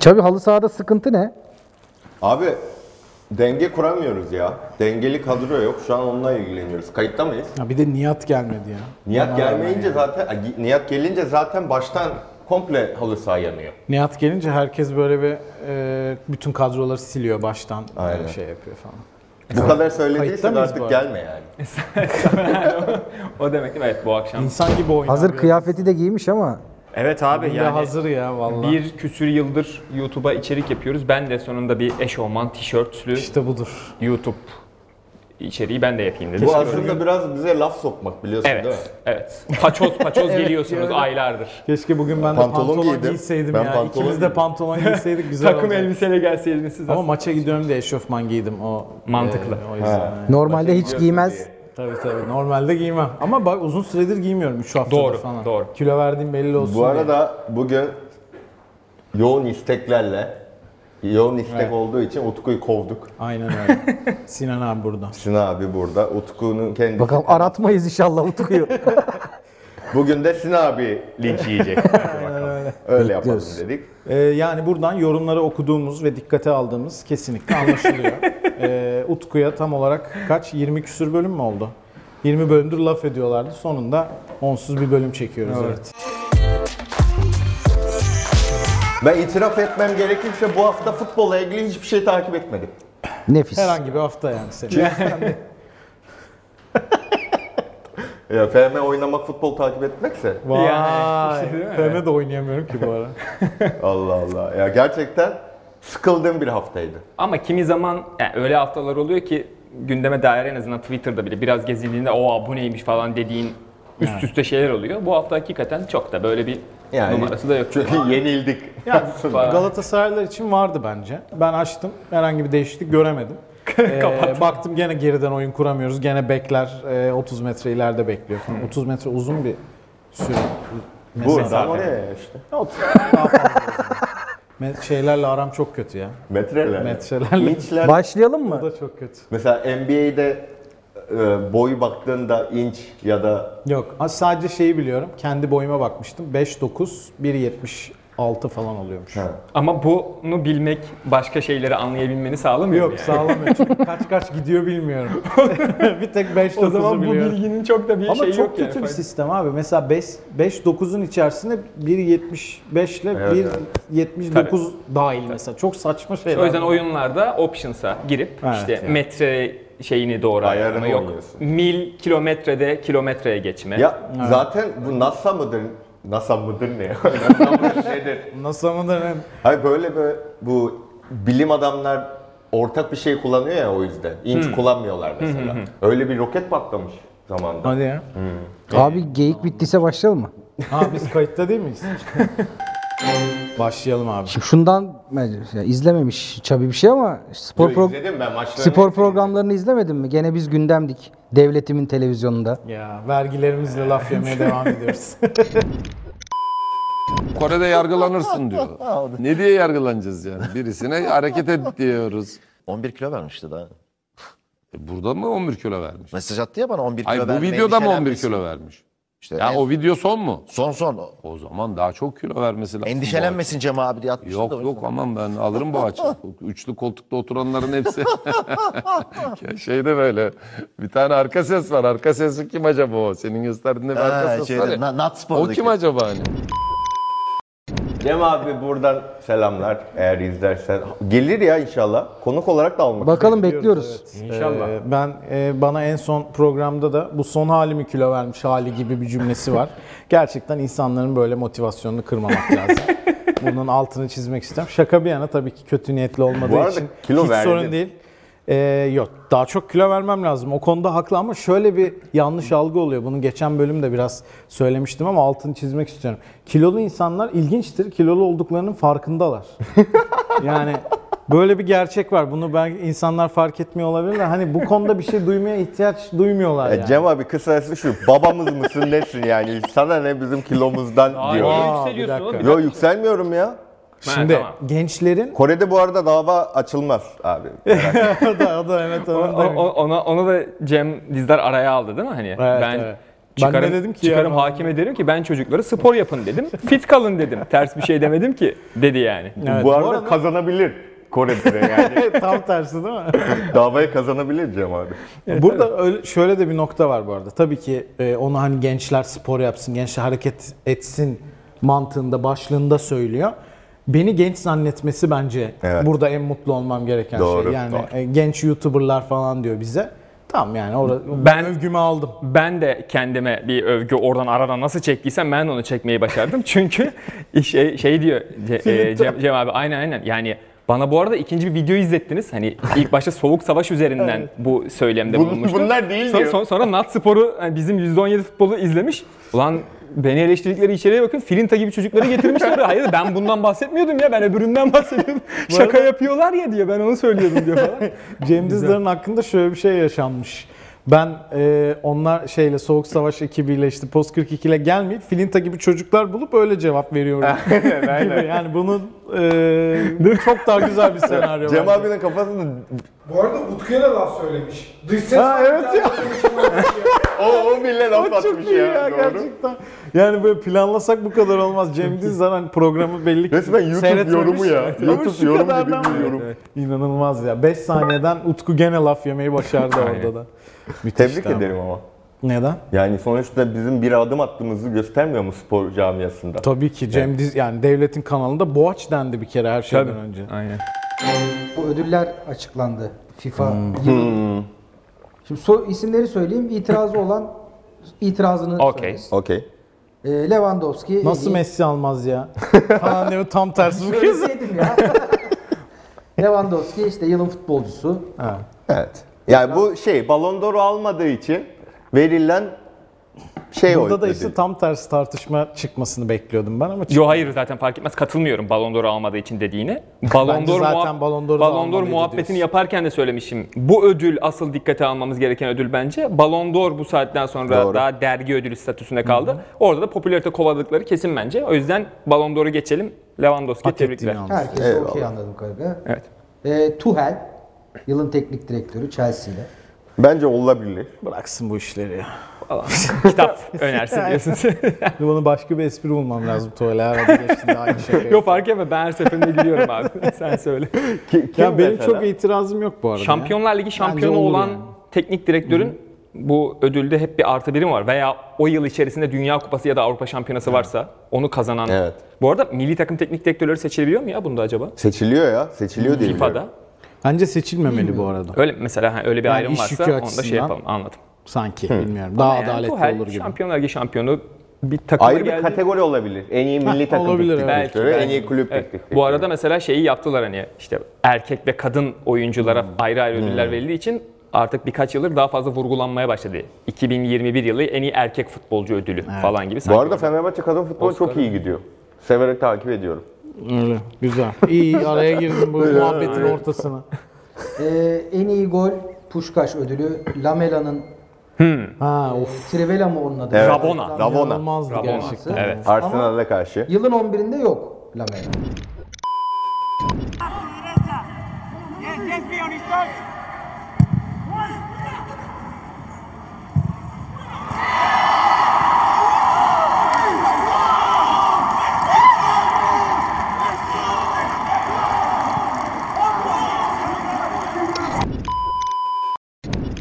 Çabi halı sahada sıkıntı ne? Abi denge kuramıyoruz ya. Dengeli kadro yok. Şu an onunla ilgileniyoruz. Kayıtta mıyız? Ya bir de Nihat gelmedi ya. Nihat gelmeyince zaten Ay, Nihat gelince zaten baştan komple halı saha yanıyor. Nihat gelince herkes böyle bir e, bütün kadroları siliyor baştan. e, Aynen. Şey yapıyor falan. Bu kadar Kayıtta söylediysen mıyız bu artık arada? gelme yani. O demek ki evet bu akşam. İnsan gibi oynuyor. Hazır bir- kıyafeti de giymiş ama Evet abi Bir de yani. hazır ya vallahi. Bir küsür yıldır YouTube'a içerik yapıyoruz. Ben de sonunda bir eşofman, tişörtlü İşte budur. YouTube içeriği ben de yapayım dedim. Bu aslında biraz bize laf sokmak biliyorsun değil mi? Evet, evet. Paçoz paçoz geliyorsunuz öyle. aylardır. Keşke bugün ben de Pantolon pantolon, giydim. giyseydim Ben ya. pantolon İkimiz de giydim. pantolon giyseydik güzel Takım olacaktı. elbiseyle gelseydiniz siz Ama aslında. maça gidiyorum diye eşofman giydim o. Mantıklı. e, o yüzden. yani. normalde hiç giymez. Tabii tabii. Normalde giymem. Ama bak uzun süredir giymiyorum. 3 haftadır Doğru, falan. doğru. Kilo verdiğim belli olsun Bu diye. arada bugün yoğun isteklerle yoğun istek olduğu için Utku'yu kovduk. Aynen öyle. Sinan abi burada. Sinan abi burada. Utku'nun kendisi. Bakalım aratmayız inşallah Utku'yu. Bugün de Sinan abi linç yiyecek. Hadi bakalım. Öyle yapalım Bekliyoruz. dedik. Ee, yani buradan yorumları okuduğumuz ve dikkate aldığımız kesinlikle anlaşılıyor. Ee, Utku'ya tam olarak kaç? 20 küsür bölüm mü oldu? 20 bölümdür laf ediyorlardı. Sonunda onsuz bir bölüm çekiyoruz. Evet. Ben itiraf etmem gerekirse bu hafta futbolla ilgili hiçbir şey takip etmedim. Nefis. Herhangi bir hafta yani senin. Ya FM oynamak futbol takip etmekse. Yani, Vay. işte değil mi? Fevne de oynayamıyorum ki bu ara. Allah Allah. Ya gerçekten sıkıldığım bir haftaydı. Ama kimi zaman yani öyle haftalar oluyor ki gündeme dair en azından Twitter'da bile biraz gezindiğinde o bu neymiş falan dediğin üst üste şeyler oluyor. Bu hafta hakikaten çok da böyle bir Yani numarası da yok. Çünkü yenildik. Yani Falan. Galatasaraylılar için vardı bence. Ben açtım. Herhangi bir değişiklik göremedim. Ee, baktım gene geriden oyun kuramıyoruz. Gene bekler e, 30 metre ileride bekliyor falan. Hmm. 30 metre uzun bir süre. Buradan oraya işte. Ne oldu? Daha fazla oldu. Me- şeylerle aram çok kötü ya. Metreler. Metrelerle İnçler. Başlayalım o mı? da çok kötü. Mesela NBA'de e, boyu baktığında inç ya da Yok az sadece şeyi biliyorum. Kendi boyuma bakmıştım. 5.9, 1.76 falan oluyormuş. Ha. Ama bunu bilmek başka şeyleri anlayabilmeni sağlamıyor mu Yok yani? sağlamıyor. Çünkü kaç kaç gidiyor bilmiyorum. bir tek 5.9'u biliyorum. O zaman bu bilginin çok da bir Ama şey çok yok kötü yani. bir sistem abi. Mesela 5 5 9'un içerisinde 1.75 ile Evet, evet. 1.79 dahil mesela. Çok saçma şeyler. O yüzden oyunlarda options'a girip Evet, işte yani. metre şeyini doğru Ayarını ayarlama yok. oynuyorsun. Mil kilometrede kilometreye geçme. ya zaten bu NASA mıdır? NASA mıdır ne? NASA mıdır nedir? Nasıl ama da ne- Hayır böyle böyle bu bilim adamlar ortak bir şey kullanıyor ya o yüzden. İnç kullanmıyorlar mesela. Öyle bir roket patlamış zamanında. Hadi ya. Abi geyik bittiyse başlayalım mı? Ha biz kayıtta değil miyiz? Başlayalım abi. Şimdi şundan bence- ya izlememiş Çabi bir şey ama spor Yo, pro- izledim ben maçlarını. spor izledim. programlarını izlemedin mi? Gene biz gündemdik devletimin televizyonunda. Ya vergilerimizle laf yemeye devam ediyoruz. Kore'de yargılanırsın diyor. ne diye yargılanacağız yani? Birisine hareket et diyoruz. 11 kilo vermişti daha. E burada mı 11 kilo vermiş? Mesaj attı ya bana 11 kilo Ay bu vermeye videoda mı 11 endişelenmesin. kilo vermiş? İşte Ya en- o video son mu? son son O zaman daha çok kilo vermesi lazım. endişelenmesin Cem abi diye atmıştı da o Yok yüzden. yok aman ben alırım bu açı. Üçlü koltukta oturanların hepsi. Ya Şeyde böyle bir tane arka ses var. Arka sesi kim acaba o? Senin gösterdiğinde bir Ha, arka ses var şeyde, ya. na- Nat O Spor'daki. kim acaba hani? Cem abi buradan selamlar eğer izlersen. Gelir ya inşallah. Konuk olarak da almak. Bakalım bekliyoruz. İnşallah. Ee, ben e, bana en son programda da bu son halimi kilo vermiş hali gibi bir cümlesi var. Gerçekten insanların böyle motivasyonunu kırmamak lazım. Bunun altını çizmek istiyorum. Şaka bir yana tabii ki kötü niyetli olmadığı Bu arada için kilo hiç verdin. sorun değil. Ee, yok daha çok kilo vermem lazım. O konuda haklı ama şöyle bir yanlış algı oluyor. Bunu geçen bölümde biraz söylemiştim ama altını çizmek istiyorum. Kilolu insanlar ilginçtir. Kilolu olduklarının farkındalar. Yani böyle bir gerçek var. Bunu ben insanlar fark etmiyor olabilir de hani bu konuda bir şey duymaya ihtiyaç duymuyorlar Ya yani. E, Cem abi kısacası şu babamız mısın nesin yani sana ne bizim kilomuzdan Aa, diyor. niye Aa, yükseliyorsun bir dakika. oğlum? Yo yükselmiyorum ya. Şimdi Ha, tamam. gençlerin Kore'de bu arada dava açılmaz abi. o da, o da evet O- onun da- o- ona, ona da Cem Dizdar araya aldı değil mi hani? Evet, ben evet. Ben Çıkarım, ne dedim ki çıkarım ya? hakime derim ki ben çocuklara spor yapın dedim. Fit kalın dedim. Ters bir şey demedim ki dedi yani. Evet, bu arada kazanabilir Kore'de yani. Tam tersi değil mi? Davayı kazanabilir Cem abi. Burada öyle, şöyle de bir nokta var bu arada. Tabii ki e, onu hani gençler spor yapsın, gençler hareket etsin mantığında, başlığında söylüyor. Beni genç zannetmesi bence Evet. burada en mutlu olmam gereken Doğru, şey. Yani doğru. e, genç YouTuber'lar falan diyor bize. Tamam yani orada ben Ben- övgümü aldım. Ben de kendime bir övgü oradan aradan nasıl çektiysem ben de onu çekmeyi başardım. Çünkü şey, şey diyor Ce- e, Cem, Cem abi aynen aynen yani bana bu arada ikinci bir video izlettiniz. Hani ilk başta soğuk savaş üzerinden bu söylemde Bun- bulunmuştum. bunlar değil Son- diyor. son- sonra Nat Spor'u yani bizim %17 futbolu izlemiş. Ulan beni eleştirdikleri içeriye bakın Filinta gibi çocukları getirmişler. Hayır ben bundan bahsetmiyordum ya ben öbüründen bahsediyordum. Şaka yapıyorlar ya diyor ben onu söylüyordum diyor falan. Cem Dizdar'ın hakkında şöyle bir şey yaşanmış. Ben e, onlar şeyle Soğuk Savaş ekibiyle işte Post 42 ile gelmeyip Filinta gibi çocuklar bulup öyle cevap veriyorum. gibi. Yani bunun e, çok daha güzel bir senaryo. Cem bence. abinin kafasında Bu arada Utku'ya da laf söylemiş. Dış şey ses Ha, var, bir evet tane ya. konuşma var. o, o bile laf atmış Çok iyi ya. ya, doğru. gerçekten. Yani böyle planlasak bu kadar olmaz. Cem Dizdar hani programı belli ki Resmen YouTube seyretmemiş. yorumu ya. Ama YouTube şu yorum kadar gibi da- bir yorum. İnanılmaz ya. 5 saniyeden Utku gene laf yemeyi başardı orada da. Tebrik abi. ederim ama. Neden? Yani sonuçta bizim bir adım attığımızı göstermiyor mu spor camiasında? Tabii ki Cem Diz yani devletin kanalında Boğaç dendi bir kere her şeyden önce. Aynen. Bu ödüller açıklandı. FIFA Hmm. yılı. Şimdi so- isimleri söyleyeyim. İtirazı olan itirazını Okey. söylesin. Okey. Ee, Lewandowski. Nasıl en iyi- Messi almaz ya? Falan diyor tam tersi bu kez. Söyleseydim ya. Lewandowski işte yılın futbolcusu. Evet. Yani bu şey Ballon d'Or almadığı için verilen şey Burada o da ödül. işte tam tersi tartışma çıkmasını bekliyordum ben ama Yo hayır zaten fark etmez. Katılmıyorum Ballon d'Or almadığı için dediğine. Ballon Bence d'Or zaten muhab- Ballon d'Or'u da Ballon d'Or almalıydı muhabbetini diyorsun. yaparken de söylemişim. Bu ödül asıl dikkate almamız gereken ödül bence. Ballon d'Or bu saatten sonra Doğru. daha dergi ödülü statüsünde kaldı. Orada da popülarite kovaladıkları kesin bence. O yüzden Ballon d'Or'u geçelim. Lewandowski hak tebrikler. ettiğini aldı. Herkes okey anladım kadarıyla. Evet. Ee, Tuchel. Yılın teknik direktörü Chelsea'de. Bence olabilir. Bıraksın bu işleri ya. Falan. Kitap önersin diyorsunuz. Bunu başka bir espri bulmam lazım tuvalete. Arada geçtiğinde aynı şey. Yok fark etme ben her seferinde gülüyorum abi. Sen söyle. Ki- kim Ya benim mesela? çok itirazım yok bu arada. ya. Şampiyonlar Ligi şampiyonu olur olan yani. teknik direktörün bu ödülde hep bir artı birim var. Veya o yıl içerisinde Dünya Kupası ya da Avrupa Şampiyonası varsa onu kazanan. Evet. Bu arada milli takım teknik direktörleri seçilebiliyor mu ya bunda acaba? Seçiliyor ya. Seçiliyor diye FIFA'da. biliyorum. Bence seçilmemeli Hmm. bu arada. Öyle mesela ha, öyle bir Yani ayrım iş yükü varsa onu da şey açısından yapalım anladım. Sanki bilmiyorum. Daha Hmm. Yani adaletli Tuchel olur gibi. Şampiyonlar Ligi şampiyonu bir takıma Ayrı bir geldi. kategori olabilir. En iyi milli takım olabilir, teknik evet. direktörü, en iyi kulüp Evet, teknik direktörü. Bu arada mesela şeyi yaptılar hani işte erkek ve kadın oyunculara Hmm. ayrı ayrı ödüller verildiği için artık birkaç yıldır daha fazla vurgulanmaya başladı. 2021 yılı en iyi erkek futbolcu ödülü falan gibi. Bu sanki arada Fenerbahçe kadın futbolu çok iyi gidiyor. Severek takip ediyorum. Öyle. Güzel. İyi araya girdim bu muhabbetin ortasına. Ee, en iyi gol Puşkaş ödülü Lamela'nın e, Ha of. Trivela mı onun adı? Evet. Rabona. Rabona. İnanılmazdı Rabona. gerçekten. Evet. Arsenal'e karşı. Yılın 11'inde yok Lamela. Yes, yes, be on his toes.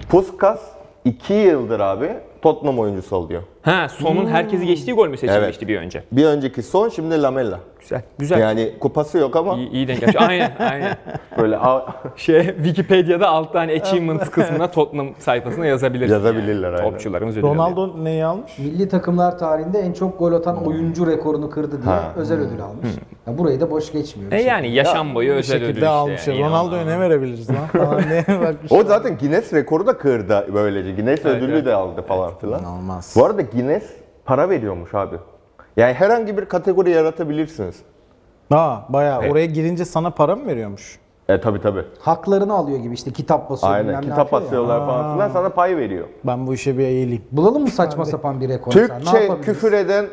Puskas 2 yıldır abi Tottenham oyuncusu oluyor. Ha, sonun herkesi geçtiği gol mü seçilmişti Hmm. Evet. bir önce? Bir önceki son şimdi Lamela. Güzel. Güzel. Yani kupası yok ama İyi, iyi denk gelmiş. Aynen, aynen. böyle a- Şey, Wikipedia'da alt tane achievements kısmına Tottenham sayfasına yazabilirsin. Yazabilirler, aynen. Topçularımız ödül alıyor. Ronaldo neyi almış? Milli takımlar tarihinde en çok gol atan oyuncu rekorunu kırdı diye özel ödül almış. Ya burayı da boş geçmiyor. E yani yaşam boyu Bir özel ödül işte. şekilde almış. yani. Ronaldo'ya ne verebiliriz lan? Falan diye bakmış. o zaten Guinness rekoru da kırdı böylece. Guinness ödülü evet. de aldı falan filan. İnanılmaz. Bu arada Guinness para veriyormuş abi. Yani herhangi bir kategori yaratabilirsiniz. Ha bayağı. Oraya girince sana para mı veriyormuş? E tabi tabi. Haklarını alıyor gibi işte kitap basıyor. Aynen. bilmem ne Kitap yapıyor ya. basıyorlar falan filan sana pay veriyor. Ben bu işe bir eğileyim. Bulalım mı saçma sapan bir rekor? sen? Ne Türkçe yapabiliriz? küfür eden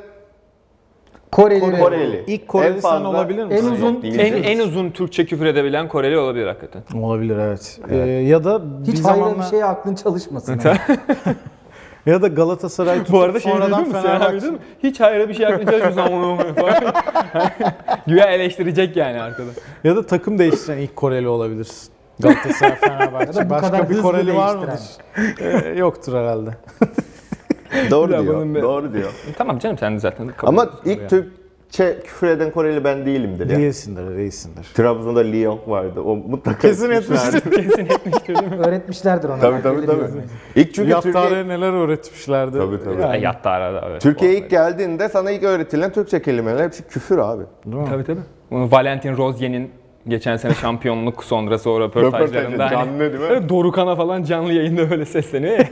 Koreli. rekor. Koreli. İlk Koreli En sen fazla- olabilir misin? En uzun değil. En, en uzun Türkçe küfür edebilen Koreli olabilir hakikaten. Olabilir evet. Ee, ya da bir Hiç şey- hayra zamanla bir şeye aklın çalışmasın. Ya da Galatasaray tutup Bu arada şey sonradan duydun mu? Sen abi Fenerbahçe. duydun mu? Hiç hayra bir şey yapmayacağız biz ama falan. Güya eleştirecek yani arkada. Ya da takım değiştiren ilk Koreli olabilirsin. Galatasaray, Fenerbahçe. Ya da bu kadar Başka bir hızlı Koreli var değiştiren. mıdır? Ee, yoktur herhalde. Doğru Ya bunun diyor. bir- Doğru diyor. E, Tamam canım sen de zaten kabul Ama ediyorsun ilk yani. Türkçe küfür eden Koreli ben değilimdir ya. Değilsindir, reisindir. Trabzon'da Lee Yong vardı. O mutlaka Kesin etmişlerdi. etmiştir. kesin etmiştir değil mi? Öğretmişlerdir ona. Tabii tabii Belirli bir tabii. İlk çünkü Türkiye... Yattarıya neler öğretmişlerdi. Tabii, tabii. Ha, Yani, E, Yattı arada. Evet, Türkiye'ye ilk geldiğinde sana ilk öğretilen Türkçe kelimeler hepsi küfür abi. değil mi? Tabii tabii. Bunu Valentin Rozier'in geçen sene şampiyonluk sonrası o röportajlarında Röportajı, hani, canlı değil mi? Evet, Dorukan'a falan canlı yayında böyle sesleniyor ya.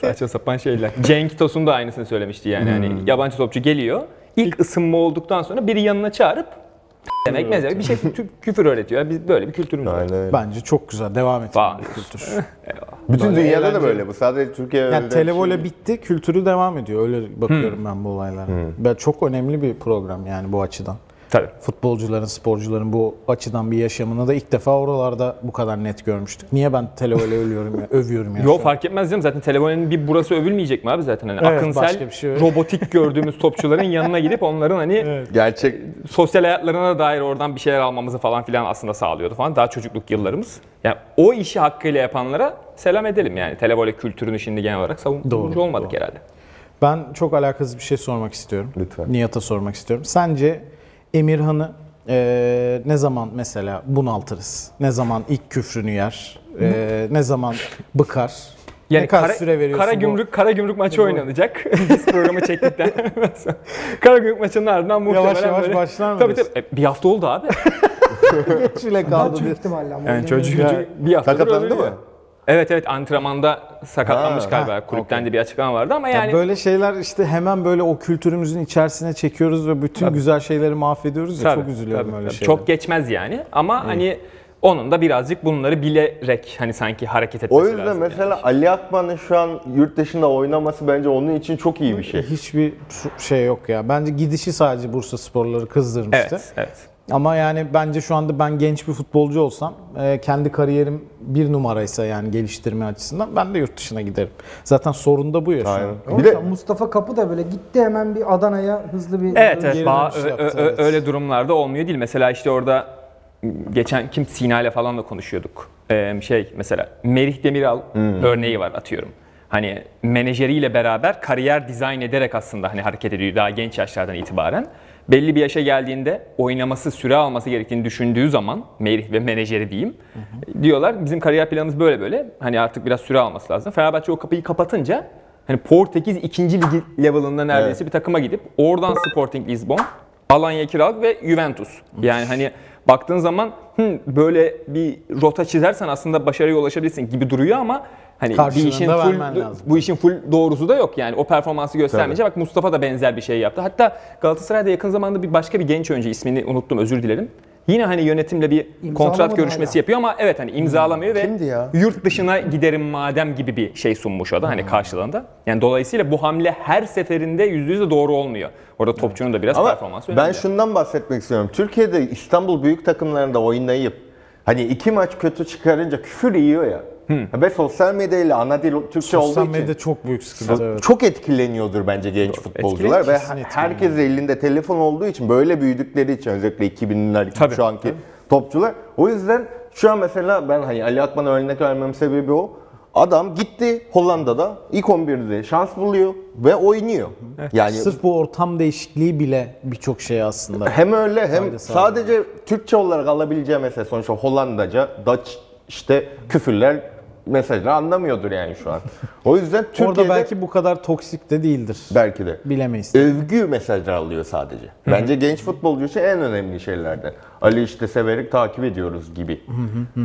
Saçma sapan şeyler. Cenk Tosun da aynısını söylemişti yani. Hani yabancı topçu geliyor. İlk ısınma olduktan sonra biri yanına çağırıp demek ne demek bir şey tü- küfür öğretiyor. Biz böyle bir kültürümüz var. Aynen öyle. Bence çok güzel. Devam et. Vay. Kültür. Bütün dünyada da böyle bu. Sadece Türkiye'ye Yani televole bitti, kültürü devam ediyor. Öyle bakıyorum Hmm. ben bu olaylara. Ben çok önemli bir program yani bu açıdan. Tabii. Futbolcuların, sporcuların bu açıdan bir yaşamını da ilk defa oralarda bu kadar net görmüştük. Niye ben televole ölüyorum ya, övüyorum ya? Yo şu an? fark etmez canım zaten telefonun bir burası övülmeyecek mi abi zaten hani Evet, başka akınsel bir şey yok. robotik gördüğümüz topçuların yanına gidip onların hani Gerçek sosyal hayatlarına dair oradan bir şeyler almamızı falan filan aslında sağlıyordu falan. Daha çocukluk yıllarımız. Yani o işi hakkıyla yapanlara selam edelim yani. Televole kültürünü şimdi genel olarak savunucu Doğru, olmadık doğru. herhalde. Ben çok alakasız bir şey sormak istiyorum. Lütfen. Nihat'a sormak istiyorum. Sence Emirhan'ı eee, ne zaman mesela bunaltırız? Ne zaman ilk küfrünü yer? Eee, ne zaman bıkar? ne kadar süre veriyorsun kara bu- gümrük, kara gümrük maçı oynanacak. Biz programı çektikten sonra. Kara gümrük maçının ardından muhtemelen yavaş böyle... başlar mı Tabii tabii. diyorsun? E, bir hafta oldu abi. Daha Şile kaldı çok diye. ihtimalle ama. Yani Yani çocuk bir hafta sakatlandı mı? Evet evet antrenmanda sakatlanmış Ha, galiba. ha, Kulüpten de bir açıklama vardı ama Ya yani... böyle şeyler işte hemen böyle o kültürümüzün içerisine çekiyoruz ve bütün güzel şeyleri mahvediyoruz ya Tabii, çok üzülüyorum tabii, öyle tabii. şeylere. Çok geçmez yani ama hani onun da birazcık bunları bilerek hani sanki hareket etmesi O lazım. yüzden mesela yani. Ali Akman'ın şu an yurt dışında oynaması bence onun için çok iyi bir şey. hiçbir su- şey yok ya. Bence gidişi sadece Bursa Sporları kızdırmıştı. Evet, evet. Ama yani bence şu anda ben genç bir futbolcu olsam e, kendi kariyerim bir numaraysa yani geliştirme açısından ben de yurt dışına giderim. Zaten sorun da bu ya şu an. Aynen. Bir de Mustafa Kapı da böyle gitti hemen bir Adana'ya hızlı bir Evet, Böyle evet. geri Ba- dönüş ö- şey yaptı, ö- ö- evet. öyle durumlarda olmuyor değil. Mesela işte orada geçen kim Sina ile falan da konuşuyorduk. Ee, şey mesela Merih Demiral örneği var atıyorum. Hani menajeriyle beraber kariyer dizayn ederek aslında hani hareket ediyor daha genç yaşlardan itibaren. Belli bir yaşa geldiğinde oynaması, süre alması gerektiğini düşündüğü zaman Merih ve menajeri diyeyim. Diyorlar bizim kariyer planımız böyle böyle. Hani artık biraz süre alması lazım. Fenerbahçe o kapıyı kapatınca hani Portekiz 2. ligi level'ında neredeyse bir takıma gidip oradan Sporting Lisbon Alanya Kiralık ve Juventus. Yani hani baktığın zaman hı, böyle bir rota çizersen aslında başarıya ulaşabilirsin gibi duruyor ama hani bir Karşılığında işin full vermen lazım. bu işin full doğrusu da yok yani. O performansı göstermeyince bak Mustafa da benzer bir şey yaptı. Hatta Galatasaray'da yakın zamanda bir başka bir genç oyuncu ismini unuttum özür dilerim. Yine hani yönetimle bir kontrat İmzalamadı görüşmesi hala. yapıyor ama evet hani imzalamıyor ve Kimdi ya? yurt dışına giderim madem gibi bir şey sunmuş o da hani karşılığında. Yani dolayısıyla bu hamle her seferinde %100 de doğru olmuyor. Orada topçunun da biraz ama performansı önemli. ben şundan bahsetmek istiyorum. Türkiye'de İstanbul büyük takımlarında oynayıp hani iki maç kötü çıkarınca küfür yiyor ya. Hmm. Ve sosyal medyayla ana dil Türkçe Sosyal olduğu için. medya çok büyük sıkıntı. Evet. Çok etkileniyordur bence genç futbolcular ve kesin etkileniyor. herkes elinde telefon olduğu için böyle büyüdükleri için özellikle 2000'ler Tabii, şu anki topçular. O yüzden şu an mesela ben hani Ali Akman'a örnek vermem sebebi o. Adam gitti Hollanda'da ilk 11'de şans buluyor ve oynuyor. Yani Sırf bu ortam değişikliği bile birçok şey aslında. hem öyle hem sağ olun. sadece Türkçe olarak alabileceği mesela sonuçta Hollandaca, Dutch işte küfürler mesela anlamıyordur yani şu an. O yüzden Türkiye'de Ee, Orada belki bu kadar toksik de değildir. belki de. Bilemeyiz. övgü mesajları alıyor sadece. Bence genç futbolcu için en önemli şeylerden. Ali işte severek takip ediyoruz gibi.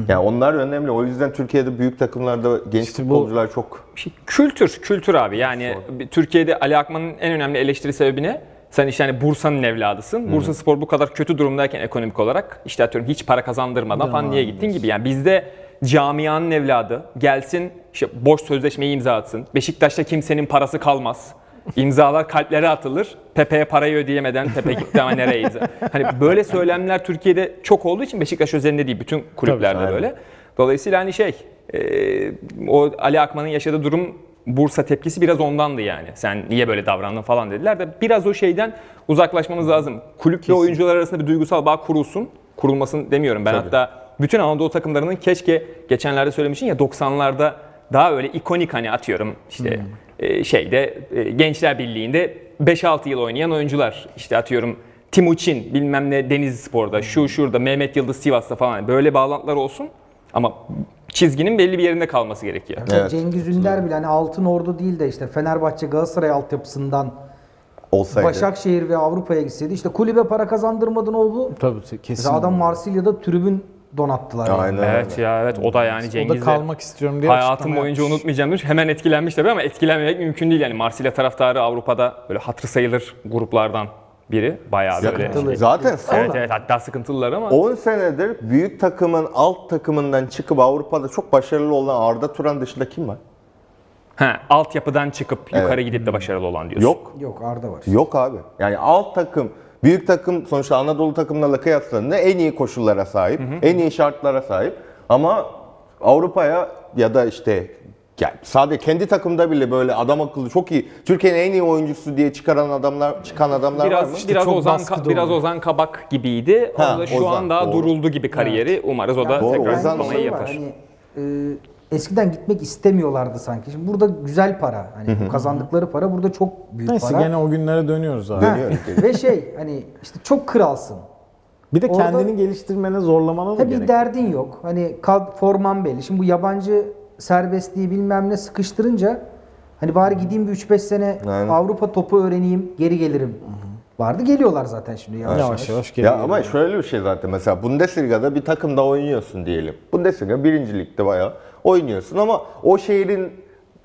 yani onlar önemli. O yüzden Türkiye'de büyük takımlarda genç futbolcular çok Şey, kültür, kültür abi. Yani bir- Türkiye'de Ali Akman'ın en önemli eleştiri sebebi ne? Sen işte hani Bursa'nın evladısın. Bursa Spor bu kadar kötü durumdayken ekonomik olarak işte atıyorum hiç para kazandırmadan falan niye gittin gibi. Yani bizde camianın evladı gelsin işte boş sözleşmeyi imza atsın. Beşiktaş'ta kimsenin parası kalmaz. İmzalar kalplere atılır. Pepe'ye parayı ödeyemeden Pepe gitti ama nereye imza? Hani böyle söylemler Türkiye'de çok olduğu için Beşiktaş özelinde değil bütün kulüplerde böyle. Dolayısıyla hani şey, e, o Ali Akman'ın yaşadığı durum Bursa tepkisi biraz ondandı yani. Sen niye böyle davrandın falan dediler de biraz o şeyden uzaklaşmamız lazım. Kulüple oyuncular arasında bir duygusal bağ kurulsun. Kurulmasın demiyorum. Ben hatta bütün Anadolu takımlarının keşke geçenlerde söylemişim ya 90'larda daha öyle ikonik hani atıyorum işte e, şeyde e, Gençler Birliği'nde 5-6 yıl oynayan oyuncular işte atıyorum Timuçin bilmem ne Denizli Spor'da, şu şurada, Mehmet Yıldız Sivas'ta falan böyle bağlantılar olsun. Ama çizginin belli bir yerinde kalması gerekiyor. Evet. Cengiz Ünder bile hani Altın Ordu değil de işte Fenerbahçe Galatasaray altyapısından Olsaydı. Başakşehir ve Avrupa'ya gitseydi işte kulübe para kazandırmadın o bu. Tabii Mesela kesin. adam Marsilya'da tribün donattılar. yani. Aynen. Evet ya evet o da yani o da Cengiz'le kalmak istiyorum diye hayatım açıklama boyunca yapmış. unutmayacağım demiş. Hemen etkilenmiş tabii ama etkilenmemek mümkün değil yani Marsilya taraftarı Avrupa'da böyle hatırı sayılır gruplardan biri bayağı böyle. Yakıntılı. Zaten Evet sonra evet hatta sıkıntılılar ama 10 senedir büyük takımın alt takımından çıkıp Avrupa'da çok başarılı olan Arda Turan dışında kim var? ha, altyapıdan çıkıp yukarı gidip de başarılı olan diyorsun. Yok. Yok Arda var. Yok abi. Yani alt takım, büyük takım sonuçta Anadolu takımlarla kıyaslandığında en iyi koşullara sahip, en iyi şartlara sahip. Ama Avrupa'ya ya da işte yani sadece kendi takımda bile böyle adam akıllı çok iyi. Türkiye'nin en iyi oyuncusu diye çıkaran adamlar çıkan adamlar var mı? Biraz biraz çok Ozan baskı da biraz oluyor. Ozan Kabak gibiydi. Ha, o da şu Ozan, an daha doğru. duruldu gibi kariyeri. Umarız o da Doğru, tekrar Ozan Yani zıplamayı şey yapar. var, hani, e, eskiden gitmek istemiyorlardı sanki. Şimdi burada güzel para. Hani bu kazandıkları para burada çok büyük Neyse para. gene o günlere dönüyoruz abi. Ha, Dönüyoruz, Ve şey hani işte çok kralsın. Bir de Orada- kendini geliştirmene zorlamana da Tabii gerek. derdin yok. Hani kad forman belli. Şimdi bu yabancı serbestliği bilmem ne sıkıştırınca hani bari gideyim bir 3-5 sene Aynen. Avrupa topu öğreneyim, geri gelirim. Vardı geliyorlar zaten şimdi yavaş yavaş. Yavaş yavaş geri Ya geliyor. ama şöyle bir şey zaten mesela Bundesliga'da bir takımda oynuyorsun diyelim. Bundesliga birinci ligde bayağı oynuyorsun ama o şehrin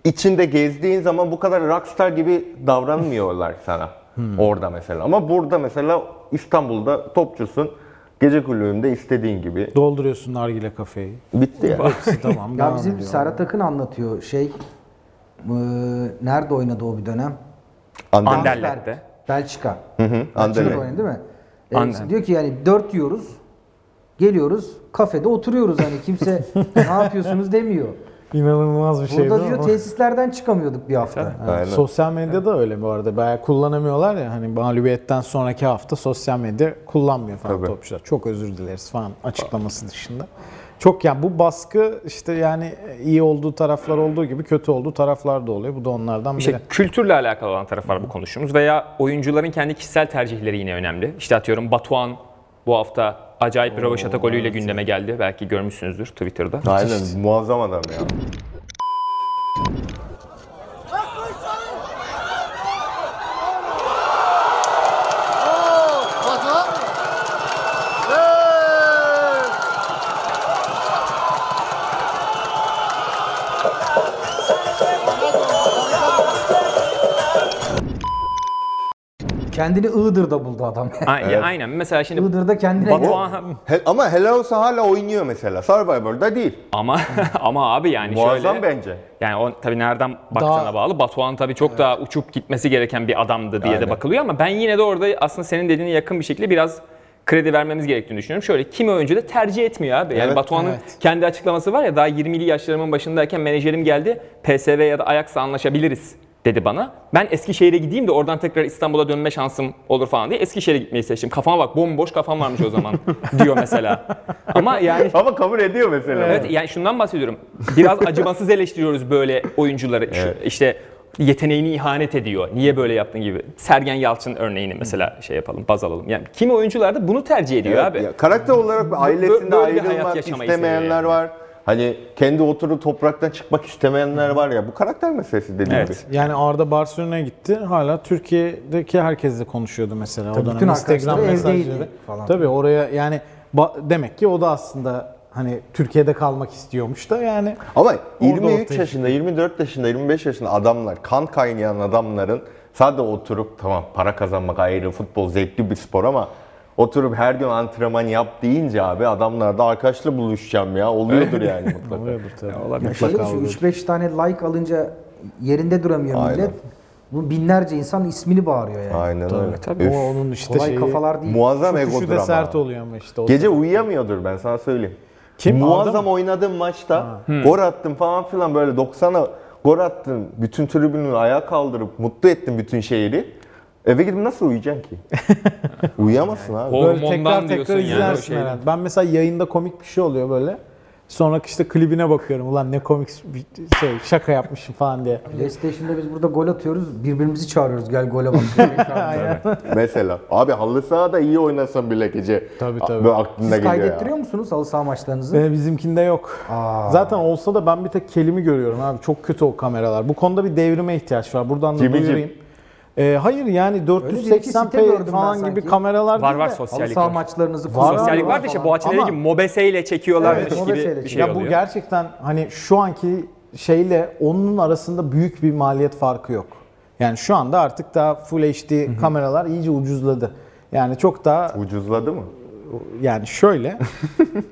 içinde gezdiğin zaman bu kadar rockstar gibi davranmıyorlar sana. Hmm. Orada mesela ama burada mesela İstanbul'da topçusun. Gece kulübünde istediğin gibi. Dolduruyorsun nargile kafeyi. Bitti ya. Hepsi tamam. Ya devam bizim ediyor. Serhat Akın anlatıyor şey e, nerede oynadı o bir dönem? Ander. Anderlet'te. Belçika. Belçika'da Ander. oynadı değil mi? E, Aynen. diyor ki yani 4 yiyoruz. Geliyoruz kafede oturuyoruz hani kimse ne yapıyorsunuz demiyor. İnanılmaz bir şey Burada değil mi? diyor tesislerden çıkamıyorduk bir hafta. Aynen. Sosyal medya da öyle bu arada. Bayağı kullanamıyorlar ya hani mağlubiyetten sonraki hafta sosyal medya kullanmıyor falan Tabii. topçular. Çok özür dileriz falan açıklaması dışında. Çok yani bu baskı işte yani iyi olduğu taraflar olduğu gibi kötü olduğu taraflar da oluyor. Bu da onlardan biri. İşte Şey, kültürle alakalı olan taraf var bu konuştuğumuz veya oyuncuların kendi kişisel tercihleri yine önemli. İşte atıyorum Batuhan bu hafta acayip bir rövaşata golüyle gündeme geldi. Belki görmüşsünüzdür Twitter'da. Aynen muazzam adam ya. Kendini Iğdır'da buldu adam. A- ya Aynen mesela şimdi Iğdır'da kendine Batuhan He- ama Helal olsa hala oynuyor mesela. Survivor'da değil. ama ama abi yani Muazzam şöyle bence. yani o tabii nereden baktığına bağlı. Batuhan tabii çok daha uçup gitmesi gereken bir adamdı diye de bakılıyor ama ben yine de orada aslında senin dediğine yakın bir şekilde biraz kredi vermemiz gerektiğini düşünüyorum. Şöyle kimi oyuncu da tercih etmiyor abi. Yani Evet. Batuhan'ın kendi açıklaması var ya daha 20'li yaşlarımın başındayken menajerim geldi. PSV ya da Ajax'la anlaşabiliriz dedi bana. Ben Eskişehir'e gideyim de oradan tekrar İstanbul'a dönme şansım olur falan diye Eskişehir'e gitmeyi seçtim. Kafama bak bomboş kafam varmış o zaman diyor mesela. Ama yani Ama kabul ediyor mesela. Evet yani şundan bahsediyorum. Biraz acımasız eleştiriyoruz böyle oyuncuları. Şu, İşte yeteneğini ihanet ediyor. Niye böyle yaptın gibi. Sergen Yalçın örneğini mesela şey yapalım, baz alalım. Yani kimi oyuncular da bunu tercih ediyor Evet, abi. ya karakter olarak böyle ailesinde bir hayat ayrılmak yaşamayı seviyor istemeyenler yani. var. Hani kendi oturup topraktan çıkmak istemeyenler var ya. Bu karakter meselesi dediğim Evet. gibi. Yani Arda Barcelona'ya gitti. Hala Türkiye'deki herkesle konuşuyordu mesela o dönem bütün Instagram arkadaşları evdeydi mesajları. falan. Tabii oraya yani ba- demek ki o da aslında hani Türkiye'de kalmak istiyormuş da yani Ama ortaya 23 yaşında, 24 yaşında, 25 yaşında adamlar, kan kaynayan adamların sadece oturup tamam para kazanmak ayrı, futbol zevkli bir spor ama oturup her gün antrenman yap deyince abi adamlar da arkadaşla buluşacağım ya. Oluyordur yani mutlaka. oluyordur tabii. şey şu 3-5 tane like alınca yerinde duramıyor Aynen. millet. Bu binlerce insan ismini bağırıyor yani. Aynen öyle. tabii. Üf, O onun işte Kolay şeyi, kafalar değil. Muazzam tutuşu egodur da ama. sert oluyor ama işte. O Gece uyuyamıyordur ben sana söyleyeyim. Kim? Arda Muazzam mı? oynadığım maçta gol attım falan filan böyle 90'a Gol attın, bütün tribünü ayağa kaldırıp mutlu ettin bütün şehri. Eve gidip nasıl uyuyacaksın ki? Uyuyamazsın abi. Hor- Böyle Hormondan tekrar tekrar diyorsun yani, o izlersin şeyden. herhalde. Ben mesela yayında komik bir şey oluyor böyle. Sonra işte klibine bakıyorum. Ulan ne komik bir şey şaka yapmışım falan diye. PlayStation'da biz burada gol atıyoruz. Birbirimizi çağırıyoruz. Gel gole bak. Mesela. Abi halı sahada iyi oynasan bile gece. Tabii, a- tabii. Böyle aklına Siz geliyor ya. kaydettiriyor musunuz halı saha maçlarınızı? Ee, bizimkinde yok. Zaten olsa da ben bir tek kelimi görüyorum abi. Çok kötü o kameralar. Bu konuda bir devrime ihtiyaç var. Buradan da Cimicim. duyurayım. Ee, hayır yani site gördüm 480p ben falan sanki. gibi kameralar Var değil var de- Halı sosyallik saha var. maçlarınızı Var, Sosyallik var, var da var işte falan. Boğaçin'e Ama- gibi mobeseyle çekiyorlarmış Evet, gibi mobeseyle bir şey çekiyor. Ya bu oluyor. gerçekten hani şu anki şeyle onun arasında büyük bir maliyet farkı yok. Yani şu anda artık daha Full HD kameralar iyice ucuzladı. Yani çok daha Ucuzladı mı? yani şöyle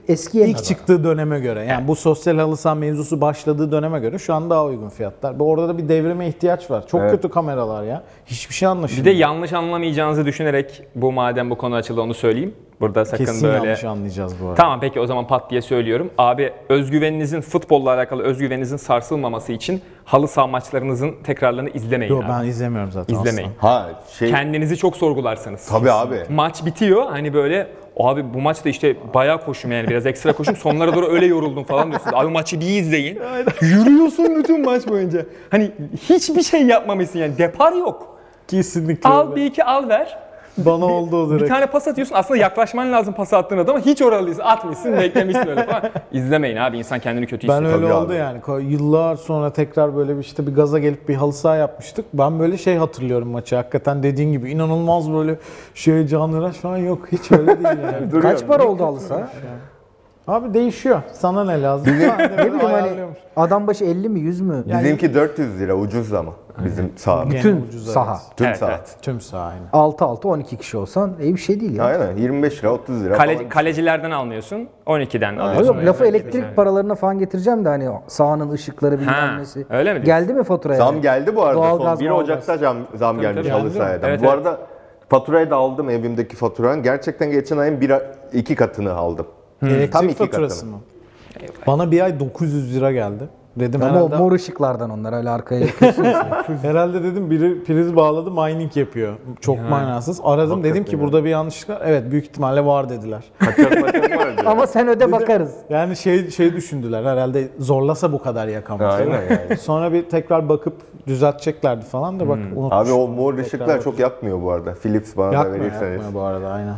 Eskiye ilk çıktığı döneme göre yani bu sosyal halı saha mevzusu başladığı döneme göre şu an daha uygun fiyatlar. Bu orada da bir devrime ihtiyaç var. Çok kötü kameralar ya. Hiçbir şey Bir anlaşılmıyor. de yanlış anlamayacağınızı düşünerek bu madem bu konu açıldı onu söyleyeyim. Burada sakın kesin böyle yanlış anlayacağız bu arada. Tamam peki o zaman pat diye söylüyorum. Abi özgüveninizin futbolla alakalı özgüveninizin sarsılmaması için halı saha maçlarınızın tekrarlarını izlemeyin. Yo, abi. ben izlemiyorum zaten. İzlemeyin. asla. Ha şey Kendinizi çok sorgularsanız. Tabii abi. Maç bitiyor hani böyle abi bu maçta işte bayağı koşum yani biraz ekstra koşum sonlara doğru öyle yoruldum falan diyorsunuz. Abi maçı bir izleyin. Yürüyorsun bütün maç boyunca. Hani hiçbir şey yapmamışsın yani depar yok. Kesinlikle. Al bir iki al ver. Bana oldu o direkt. Bir tane pas atıyorsun aslında yaklaşman lazım pas attığın adama hiç oralıyız atmışsın beklemişsin öyle falan. İzlemeyin abi insan kendini kötü Ben hissediyor. öyle Tabii oldu abi. yani. Ko- Yıllar sonra tekrar böyle bir işte bir gaza gelip bir halı saha yapmıştık. Ben böyle şey hatırlıyorum maçı. Hakikaten dediğin gibi inanılmaz böyle şey canlıraş falan yok. Hiç öyle değil yani. Kaç para oldu halı saha? Abi değişiyor. Sana ne lazım? ne bileyim hani adam başı 50 mi 100 mü? bizimki 400 lira ucuz ama bizim saha. Tüm saha. Tüm Evet, saat. evet. Tüm saha aynı. 6-6 12 kişi olsan iyi bir şey değil ya. Aynen 25 lira 30 lira Kale- falan. kalecilerden almıyorsun 12'den Ama alıyorsun. Yok lafı elektrik paralarına falan getireceğim de hani sahanın ışıkları bilmem Ha, nesi. öyle mi diyorsun? Geldi mi faturaya? Zam geldi bu arada. Doğalgaz, Son 1 doğalgaz. Ocak'ta zam, zam gelmiş tabii. halı sahada. Evet, bu evet. arada faturayı da aldım evimdeki faturanın. Gerçekten geçen ayın bir, iki katını aldım. Tam Elektrik iki faturası katını. mı? Bana bir ay 900 lira geldi. Dedim Ama o herhalde, mor ışıklardan onlar öyle arkaya yakıyorsun. herhalde dedim biri priz bağladı mining yapıyor. Çok manasız. Aradım dedim ki burada bir yanlışlık var. Evet büyük ihtimalle var dediler. Kaçak maçak vardı. Ama sen öde bakarız. Yani şey şey düşündüler herhalde zorlasa bu kadar yakamaz. Aynen yani. Sonra bir tekrar bakıp düzelteceklerdi falan da bak unutmuş. Abi o mor ışıklar çok yakmıyor bu arada. Philips bana da yakmıyor, verirseniz. yakmıyor bu arada aynen.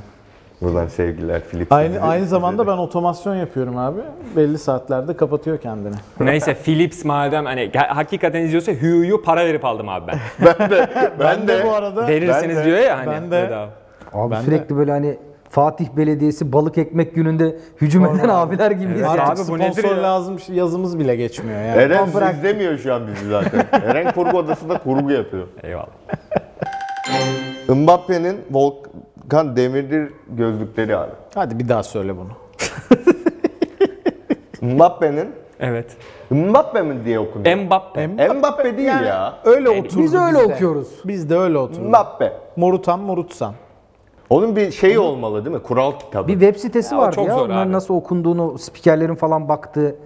Buradan sevgiler Philips. Aynı aynı zamanda ben otomasyon yapıyorum abi. Belli saatlerde kapatıyor kendini. Neyse Philips madem hani ge- hakikaten izliyorsa Hue'yu para verip aldım abi ben. ben, de bu arada Verirseniz diyor ya hani. ben de- bedava. Abi Ben de- sürekli böyle hani Fatih Belediyesi balık ekmek gününde hücum eden abiler gibiyiz. Evet. ya. Abi Artık bu sponsor nedir ya? lazım yazımız bile geçmiyor yani. Eren Tamam, bırak. izlemiyor şu an bizi zaten. Eren kurgu odasında kurgu yapıyor. Eyvallah. Mbappe'nin Volkan Demirdir gözlükleri abi. Hadi bir daha söyle bunu. Mbappe'nin Evet. Mbappe mi diye okunuyor? Mbappe. Mbappe değil ya. Öyle oturdu. Biz öyle bizde. okuyoruz. Biz de öyle oturduk. Mbappe. Morutan morutsan. Onun bir şeyi olmalı değil mi? Kural kitabı. Bir web sitesi Ya o vardı çok ya. zor Onların abi. nasıl okunduğunu spikerlerin falan baktığı.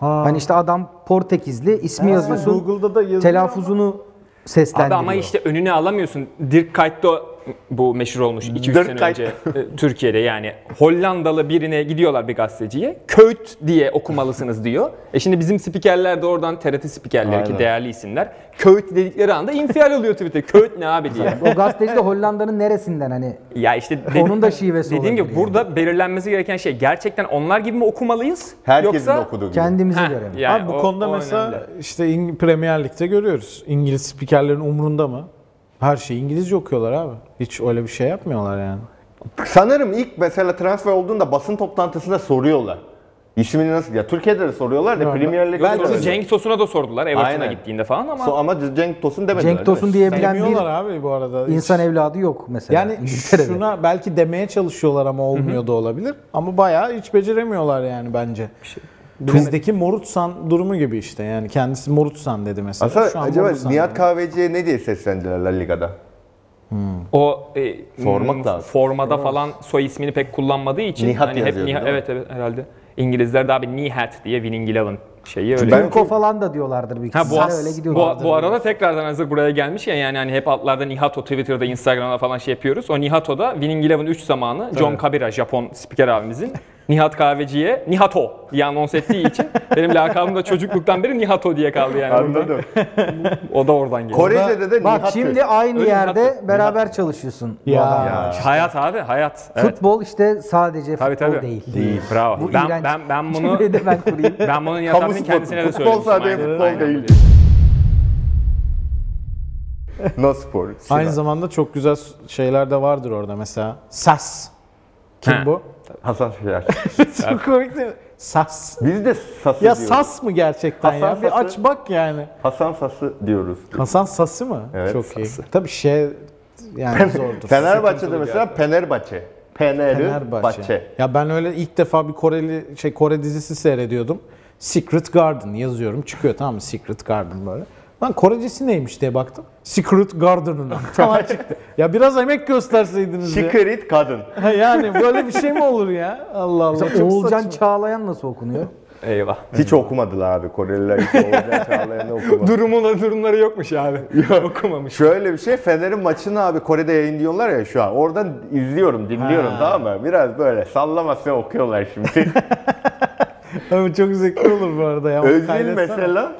Hani işte adam Portekizli ismi yazıyorsun. Google'da da yazıyor Telaffuzunu Abi seslendiriyor. ama işte önüne alamıyorsun. Dirk Kuyt da bu meşhur olmuş 2-3 Dirk sene Kuyt. önce e, Türkiye'de yani Hollandalı birine gidiyorlar bir gazeteciye. Köyt diye okumalısınız diyor. E şimdi bizim spikerler de oradan TRT spikerleri ki Aynen. değerli isimler. Köyt dedikleri anda infial oluyor Twitter'da. Köyt ne abi diye. O gazeteci de Hollanda'nın neresinden hani Ya işte Onun da şivesi Dediğim gibi olabilir yani. burada belirlenmesi gereken şey gerçekten onlar gibi mi okumalıyız? Herkesin yoksa... okuduğu gibi. kendimize Heh, göre mi? yani Abi bu o- konuda o mesela önemli. işte İng- Premier Lig'de görüyoruz. İngiliz spikerlerin umrunda mı? Her şeyi İngilizce okuyorlar abi. Hiç öyle bir şey yapmıyorlar yani. Sanırım ilk mesela transfer olduğunda basın toplantısında soruyorlar. İsmini nasıl? Ya Türkiye'de de soruyorlar da Premier Lig'de Belki soruyorlar. Cenk Tosun'a da sordular Everton'a Aynen. gittiğinde falan ama So- ama Cenk Tosun demediler. Cenk Tosun diyebilen bir Demiyorlar abi bu arada. Hiç- insan evladı yok mesela. yani e- İngiltere'de. şuna belki demeye çalışıyorlar ama olmuyor da olabilir. Ama bayağı hiç beceremiyorlar yani bence. Bizdeki Morutsan durumu gibi işte. Yani kendisi Morutsan dedi mesela. Şu Aslında an acaba Morutsan Nihat dedi. Kahveci'ye ne diye seslendiler La Liga'da? o e, Sormak m, lazım. formada falan soy ismini pek kullanmadığı için Nihat hani hep yazıyordu, Nihat, değil mi? evet evet herhalde. İngilizler de abi Nihat diye Winning Eleven şeyi öyle. Türko falan da diyorlardır bir Ha bu, kısmı. öyle bu, gidiyorlardır. bu arada tekrardan hazır buraya gelmişken yani hani hep altlarda Nihato Twitter'da, Instagram'da falan şey yapıyoruz. O Nihato'da Winning Eleven 3 zamanı John Kabira, Japon spiker abimizin Nihat Kahveci'ye Nihato diye anons ettiği için benim lakabım da çocukluktan beri Nihato diye kaldı yani. Anladım. O da oradan geliyor. Korece'de de Bak Nihat şimdi aynı Öyle yerde Nihat'tır. beraber çalışıyorsun. bu Ya. adamla. Hayat abi hayat. Evet. Futbol işte sadece Tabii futbol tabii. değil. Bravo. Bu ben, iğrenç şey ben, ben bunu cümleyi de ben kurayım. ben bunun E, Kamu yatarını spotu. kendisine de Futbol söylemiştim. sadece Aynen, futbol aynen. değil. No spor. Sinan. Aynı zamanda çok güzel şeyler de vardır orada mesela. Sas. Kim Ha. bu? Hasan Şener. Çok komik değil mi? Sas. Biz de Sası Ya diyoruz. sas mı gerçekten Hasan ya? Bir Sası. aç bak yani. Hasan Sası diyoruz. Hasan Sası mı? Evet, Çok Sası. iyi. Tabii şey yani zordur. Fenerbahçe'de mesela Fenerbahçe. Fenerbahçe. Fenerbahçe. Bahçe. Ya ben öyle ilk defa bir Koreli şey Kore dizisi seyrediyordum. Secret Garden yazıyorum. Çıkıyor tamam mı? Secret Garden böyle. Lan Korecesi neymiş diye baktım. Secret Garden'ın falan çıktı. Ya biraz emek gösterseydiniz ya. Şikerit kadın. yani böyle bir şey mi olur ya? Allah Allah. Mesela çok Oğulcan saçma. Çağlayan nasıl okunuyor? Eyvah. Hiç okumadılar abi Koreliler. Hiç Oğuzhan Çağlayan'ı okumadı. Durumuna durumları yokmuş abi. Okumamış. Şöyle bir şey Fener'in maçını abi Kore'de yayınlıyorlar ya şu an. Oradan izliyorum, dinliyorum tamam mı? Biraz böyle sallamasına okuyorlar şimdi. Abi çok zeki olur bu arada ya. Onu Özil kaydetsene. mesela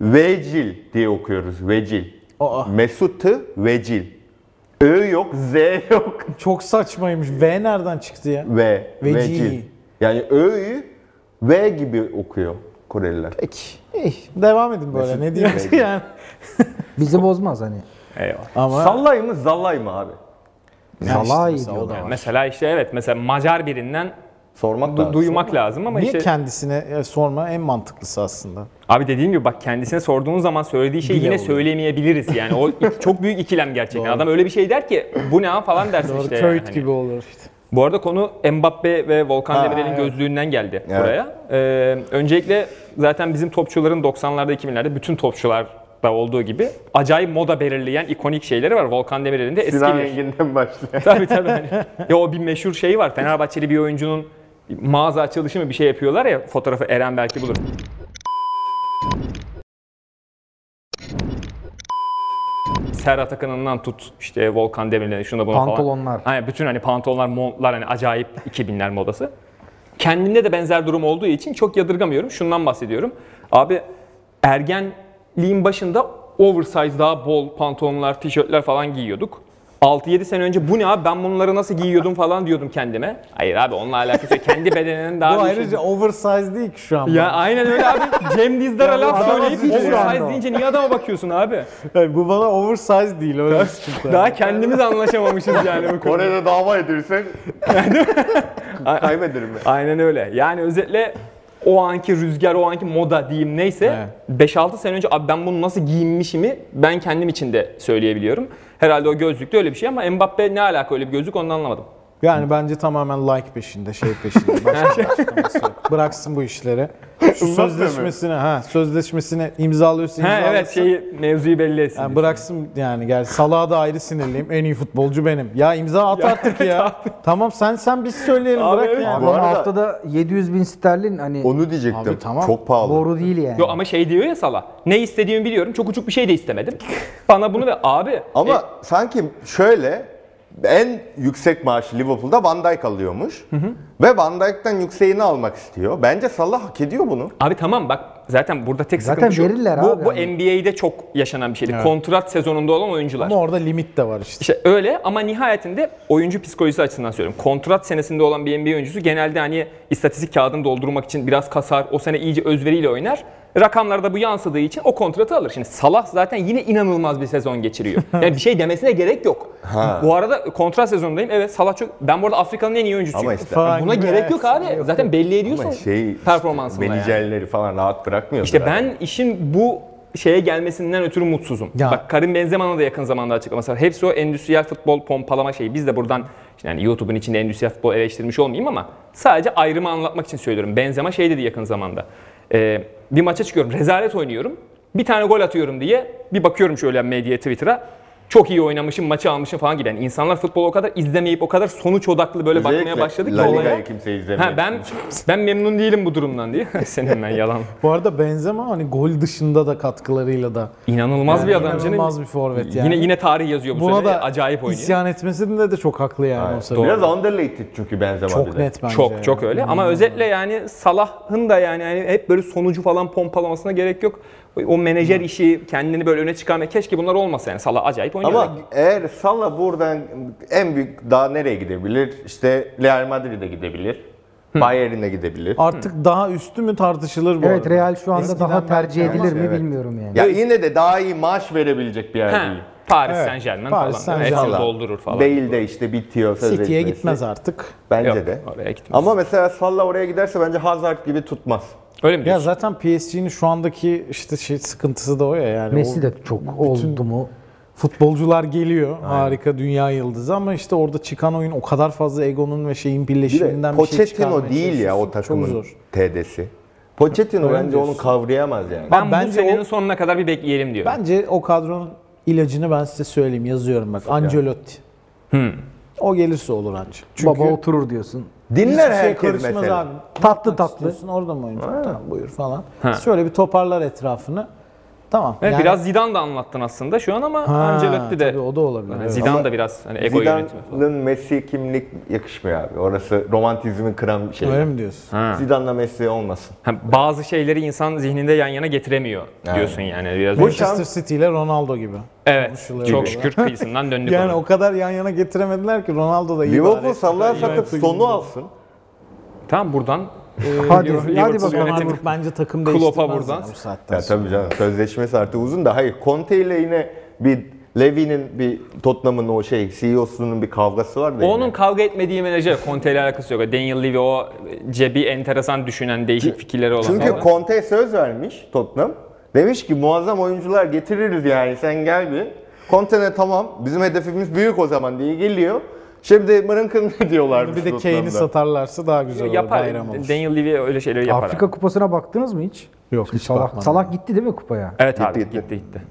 Vecil diye okuyoruz. Vecil. Aa. Mesut'u Vecil. Ö yok, Z yok. Çok saçmaymış. V nereden çıktı ya? V. Vecil. Vecil. Yani Ö'yü V gibi okuyor Koreliler. Peki. İyi, devam edin böyle. Ne diyeyim yani. Bizi bozmaz hani. Eyvah. Ama Sallay mı, zallay mı abi? Ya işte Zalai mesela o da diyorlar. var. Mesela işte evet mesela Macar birinden Sormak du- lazım. duymak lazım ama Niye işte kendisine e, sorma en mantıklısı aslında. abi dediğim gibi bak kendisine sorduğun zaman söylediği şeyi Bile yine oluyor. söyleyemeyebiliriz yani o iki- çok büyük ikilem gerçekten adam öyle bir şey der ki bu ne ha?" falan dersin Doğru işte yani. Köyt Hani- gibi olur işte. Bu arada konu Mbappe ve Volkan Demirel'in gözlüğünden geldi buraya. Ee, öncelikle zaten bizim topçuların 90'larda 2000'lerde bütün topçular da olduğu gibi acayip moda belirleyen ikonik şeyleri var. Volkan Demirel'in de eski Sinan bir- Engin'den başlıyor. tabii tabii. Hani. Ya o bir meşhur şeyi var. Fenerbahçeli bir oyuncunun mağaza açılışı mı bir şey yapıyorlar ya fotoğrafı Eren belki bulur. Serhat Akın'ından tut işte Volkan Demirel'e şuna bunu Pantolonlar. falan. Hani bütün hani pantolonlar, montlar hani acayip 2000'ler modası. Kendimde de benzer durum olduğu için çok yadırgamıyorum. Şundan bahsediyorum. Abi ergenliğin başında oversize daha bol pantolonlar, tişörtler falan giyiyorduk. 6-7 sene önce bu ne abi ben bunları nasıl giyiyordum falan diyordum kendime. Hayır abi onunla alakası yok. Kendi bedeninin Bu daha bir şey- ayrıca oversize değil ki şu an. Ya aynen öyle abi. Cem Dizdar'a laf adama söyleyip suçu yani oversize o. deyince niye adama bakıyorsun abi? Yani bu bana oversize değil öyle bir sıkıntı. Daha kendimiz anlaşamamışız yani bu konuda. Kore'de dava edilsen kaybederim ben. Aynen öyle. Yani özetle o anki rüzgar, o anki moda diyeyim neyse 5-6 sene önce abi ben bunu nasıl giyinmişimi ben kendim için de söyleyebiliyorum. Herhalde o gözlükte öyle bir şey ama Mbappe ne alaka öyle bir gözlük onu anlamadım. Yani bence tamamen like peşinde, şey peşinde. Başka bir açıklaması yok. Bıraksın bu işleri. Şu sözleşmesini, ha, sözleşmesini imzalıyorsa He imzalasın. evet şeyi mevzuyu belli etsin. Yani bıraksın yani gel salağa da ayrı sinirliyim. En iyi futbolcu benim. Ya imza at artık ya. tamam sen sen biz söyleyelim Abi bırak evet. yani. Bu arada- haftada 700 bin sterlin hani Onu diyecektim. Abi tamam. Çok pahalı. boru değil yani. Yo ama şey diyor ya sala. Ne istediğimi biliyorum. Çok uçuk bir şey de istemedim. Bana bunu ve abi. Ama e, sanki şöyle en yüksek maaşı Liverpool'da Van Dijk alıyormuş. Ve Van Dijk'ten yükseğini almak istiyor. Bence Salah hak ediyor bunu. Abi tamam bak zaten burada tek Zaten sıkıntı şu. verirler bu, abi Bu hani. NBA'de çok yaşanan bir şeydi. Kontrat sezonunda olan oyuncular. Ama orada limit de var işte. İşte öyle ama nihayetinde oyuncu psikolojisi açısından söylüyorum. Kontrat senesinde olan bir NBA oyuncusu genelde hani istatistik kağıdını doldurmak için biraz kasar, o sene iyice özveriyle oynar. Rakamlarda bu yansıdığı için o kontratı alır. Şimdi Salah zaten yine inanılmaz bir sezon geçiriyor. Yani bir şey demesine gerek yok. Bu arada kontrat sezonundayım. Evet Salah çok... Ben bu arada Afrika'nın en iyi oyuncusuyum. Ama işte- Falan Buna gibi, gerek evet. yok abi. zaten belli ediyorsun Ama şey performansını. yani. menajerleri falan rahat bırakmıyor. İşte ben işin bu şeye gelmesinden ötürü mutsuzum. Ya. Bak Karim Benzema'nın da yakın zamanda açıklaması var. Hepsi o endüstriyel futbol pompalama şeyi. Biz de buradan işte yani YouTube'un içinde endüstriyel futbol eleştirmiş olmayayım ama sadece ayrımı anlatmak için söylüyorum. Benzema şey dedi yakın zamanda. Ee, bir maça çıkıyorum, rezalet oynuyorum. Bir tane gol atıyorum diye bir bakıyorum şöyle medyaya, Twitter'a. çok iyi oynamışım, maçı almışım falan gibi. Yani insanlar futbolu o kadar izlemeyip o kadar sonuç odaklı böyle bakmaya Özellikle başladı ki La olaya. Liga'yı kimse izlemiyor. Ha, ben ben memnun değilim bu durumdan diye. Senin ben yalan. Bu arada Benzema hani gol dışında da katkılarıyla da İnanılmaz Yani bir adam canım. inanılmaz bir forvet yani. Yine yine tarih yazıyor bu buna sene. E, da Acayip oynuyor. isyan etmesinde de çok haklı yani o sırada. Biraz underrated çünkü Benzema bir Çok de. net bence. Çok çok öyle ama özetle yani Salah'ın da yani, yani hep böyle sonucu falan pompalamasına gerek yok. O menajer işi kendini böyle öne çıkarmak keşke bunlar olmasa yani Salah acayip oynuyor. Ama eğer Salah buradan en büyük daha nereye gidebilir? İşte Real Madrid'e gidebilir. Bayern'e gidebilir. Artık daha üstü mü tartışılır bu Evet arada. Real şu anda daha tercih belki ama- edilir mi Evet. bilmiyorum yani. Ya yine de daha iyi maaş verebilecek bir yer Ha, değil. Paris Evet, Saint Germain Paris falan. Saint-Germain. Saint Salah. doldurur falan. Değil de işte bitiyor sözleşmesi. City'ye gitmez artık. Bence Yok, de. oraya gitmez. Ama mesela Salah oraya giderse bence Hazard gibi tutmaz. Öyle mi Ya diyorsun? zaten PSG'nin şu andaki işte şey sıkıntısı da o ya yani. Messi O de çok oldu mu? Futbolcular geliyor. Harika dünya yıldızı ama işte orada çıkan oyun o kadar fazla egonun ve şeyin Bir de birleşiminden bir şey Pochettino çıkarmaya değil ya o çalışıyorsun. takımın Çok zor. TD'si. Pochettino Öyle bence diyorsun. onu kavrayamaz yani. Ben bu bence senenin o- sonuna kadar bir bekleyelim diyor. Bence o kadronun ilacını ben size söyleyeyim yazıyorum bak. Ancelotti. O gelirse olur anca. Çünkü Baba oturur diyorsun. Dinler hiçbir şey herkes karışmaz mesela. abi. Tatlı tatlı. Diyorsun orada mı oynayacak? Tamam buyur falan. Şöyle bir toparlar etrafını. Tamam. Evet, yani- biraz Zidane da anlattın aslında şu an ama Ha, Ancelotti de. tabii o da olabilir. Yani evet. Zidane da biraz hani ego yönetimi falan. Zidane'ın Messi kimlik yakışmıyor abi. Orası romantizmin kıran bir şey. Öyle mi diyorsun? Zidane'la Messi olmasın. Ha, bazı şeyleri insan zihninde yan yana getiremiyor diyorsun yani biraz. Bu öyle. Manchester City ile Ronaldo gibi. evet. konuşuluyor Çok bu. şükür kıyısından döndük. Yani ona. o kadar yan yana getiremediler ki Ronaldo da iyi Liverpool bari. Salah'ı satıp Juventus'u sonu gibi. alsın. Tamam buradan Ee, Hadi, Liverpool hadi bakalım. yönetim- Arnold bence takım Klopp'a değiştirmez buradan. yani bu saatten Ya sonra. tabii canım sözleşmesi artık uzun da hayır Conte ile yine bir Levy'nin bir Tottenham'ın o şey CEO'sunun bir kavgası var da. Onun yine. kavga etmediği menajer Conte ile alakası yok. Daniel Levy o e, cebi enteresan düşünen değişik fikirleri olan. Çünkü adam. Conte söz vermiş Tottenham. Demiş ki muazzam oyuncular getiririz yani sen gel bir. Conte de tamam bizim hedefimiz büyük o zaman diye geliyor. Şimdi mırın ne diyorlar. Bir de Kane'i satarlarsa daha güzel olur. yapar. Bayram olur. Daniel Levy öyle şeyleri yapar. Afrika Kupası'na baktınız mı hiç? Yok, Şimdi hiç Salah, bakmadım. Salah gitti değil mi kupaya? Evet abi Gitti, gitti gitti. gitti.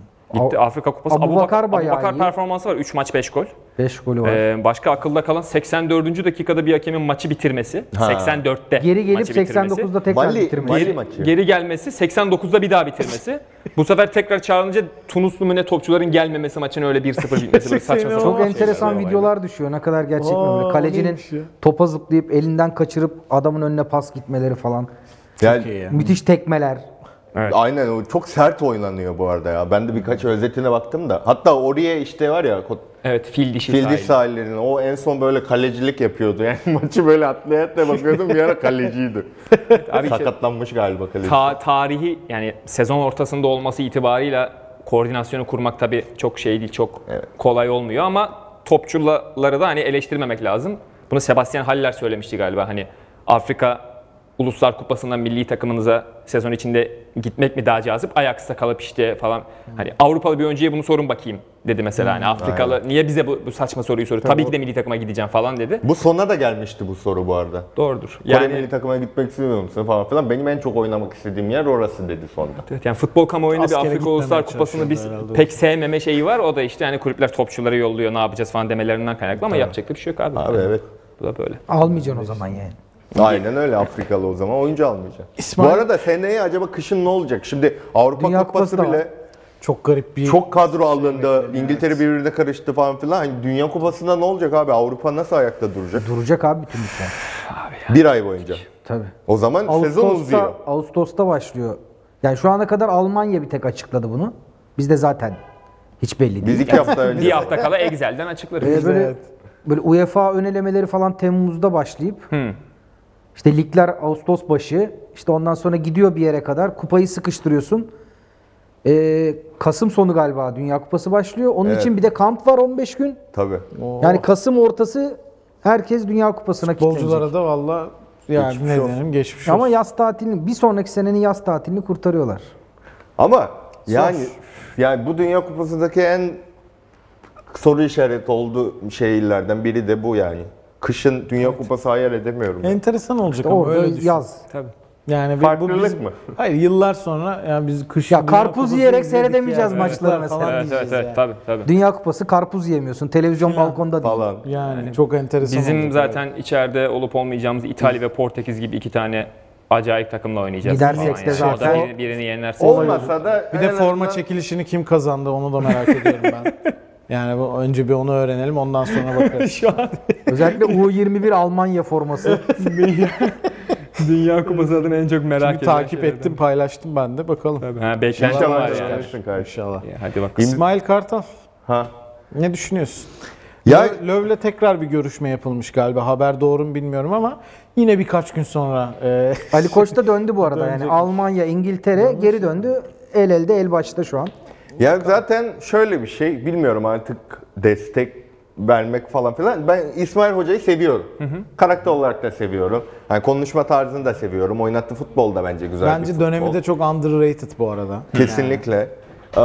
gitti. Afrika Kupası. Abu Abu Bakar Bakar, Abu bayağı Bakar iyi. performansı var. 3 maç 5 gol. 5 golü var. Ee, başka akılda kalan 84. dakikada bir hakemin maçı bitirmesi. 84'te Geri gelip maçı bitirmesi. 89'da tekrar Mali, bitirmiş. Mali maçı. Geri gelmesi, 89'da bir daha bitirmesi. Bu sefer tekrar çağrılınca Tunuslu mu ne topçuların gelmemesi maçın öyle 1-0 bitmesi. böyle saçma sapan Çok şeyler enteresan var. videolar düşüyor. Ne kadar gerçek mi? Şey, Aa, öyle? Kalecinin neymiş ya? topa zıplayıp elinden kaçırıp adamın önüne pas gitmeleri falan. Yani, iyi ya. Müthiş tekmeler. Aynen o çok sert oynanıyor bu arada ya. Ben de Hmm. birkaç özetine baktım da. Hatta oraya işte var ya Evet, fil dişi Fildiş sahili. sahillerine. O en son böyle kalecilik yapıyordu. Yani maçı böyle atlaya atlaya bakıyordum bir ara kaleciydi. Sakatlanmış galiba kaleci. Ta- tarihi yani sezon ortasında olması itibarıyla koordinasyonu kurmak tabii çok şey değil, çok kolay olmuyor ama topçuları da hani eleştirmemek lazım. Bunu Sebastian Haller söylemişti galiba hani Afrika Uluslar Kupası'ndan milli takımınıza sezon içinde gitmek mi daha cazip? Ajax'ta kalıp işte falan. Hani Avrupalı bir oyuncuya bunu sorun bakayım dedi mesela. Hani Afrikalı niye bize bu, bu saçma soruyu soruyor? Tabii ki de milli takıma gideceğim falan dedi. bu sona da gelmişti bu soru bu arada. Doğrudur. Kore milli takıma gitmek istemiyor musun falan filan. Benim en çok oynamak istediğim yer orası dedi sonda. Evet, yani futbol kamuoyunda bir Askere Afrika gitmemeye Uluslar Kupası'nı biz çalışıyorlar herhalde. pek sevmeme şeyi var. O da işte hani kulüpler topçuları yolluyor ne yapacağız falan demelerinden kaynaklı ama yapacak da bir şey yok abi. Abi evet. Bu da böyle. Almayacaksın o zaman yani. Aynen öyle Afrikalı o zaman oyuncu almayacak. İsmail- Bu arada seneye acaba kışın ne olacak? Şimdi Avrupa Dünya Kupası, Kupası da var. bile Çok garip bir çok kadro alındı. İngiltere birbirine karıştı falan filan. Hani Dünya Kupası'nda ne olacak abi? Avrupa nasıl ayakta duracak? Duracak abi bütün işler. Bir ay boyunca. Tabii. O zaman sezon uzuyor. Ağustos'ta, Ağustos'ta başlıyor. Yani şu ana kadar Almanya bir tek açıkladı bunu. Bizde zaten hiç belli değil. Biz iki hafta önce. Bir hafta kala Excel'den açıklarız. Ee, böyle böyle UEFA önelemeleri falan Temmuz'da başlayıp işte ligler Ağustos başı işte ondan sonra gidiyor bir yere kadar kupayı sıkıştırıyorsun. Ee, Kasım sonu galiba Dünya Kupası başlıyor. Onun için bir de kamp var 15 gün. Tabii. Yani Kasım ortası herkes Dünya Kupası'na kilitlenecek. futbolculara da valla yani Geçmiş ne olsun. diyelim geçmiş olsun. Ama yaz tatilini bir sonraki senenin yaz tatilini kurtarıyorlar. Ama yani yani bu Dünya Kupası'ndaki en soru işareti olduğu şeylerden biri de bu yani. Kışın Dünya Kupası hayal edemiyorum. ben. Enteresan olacak ama Orada öyle düşün. yaz. Tabii. Yani ve Farklılık mı? Hayır yıllar sonra yani biz kış Ya Dünya karpuz Kupası yiyerek izledik seyredemeyeceğiz yani. maçları Evet, mesela. falan Evet diyeceğiz evet evet yani. tabii tabii. Dünya Kupası karpuz yiyemiyorsun. Televizyon balkonda değil. falan. Yani, çok enteresan. Bizim olacak. zaten içeride olup olmayacağımız İtalya ve Portekiz gibi iki tane acayip takımla oynayacağız. Gidersek falan de yani. O da zaten- birini- birini yenersek. Olmasa da Bir de en forma azından- çekilişini kim kazandı onu da merak ediyorum ben. Yani bu, önce bir onu öğrenelim ondan sonra bakarız. Özellikle U21 Almanya forması. Dünya Kupası adını en çok merak Bir takip ettim paylaştım ben de bakalım. Ha, beklenti İnşallah var yani. kazanırsın kardeşim. İnşallah. Ya, Hadi bak. İsmail Kartal Ha. ne düşünüyorsun? Ya Lö- Löv'le tekrar bir görüşme yapılmış galiba. Haber doğru mu bilmiyorum ama yine birkaç gün sonra e, Ali Koç da döndü bu arada yani. Almanya, İngiltere geri döndü. El elde el başta şu an. Ya zaten şöyle bir şey, bilmiyorum artık destek vermek falan filan. Ben İsmail Hoca'yı seviyorum. Karakter olarak da seviyorum. Yani konuşma tarzını da seviyorum. Oynattığı futbol da bence güzel bir bence futbol. dönemi de çok underrated bu arada. Kesinlikle. Ee,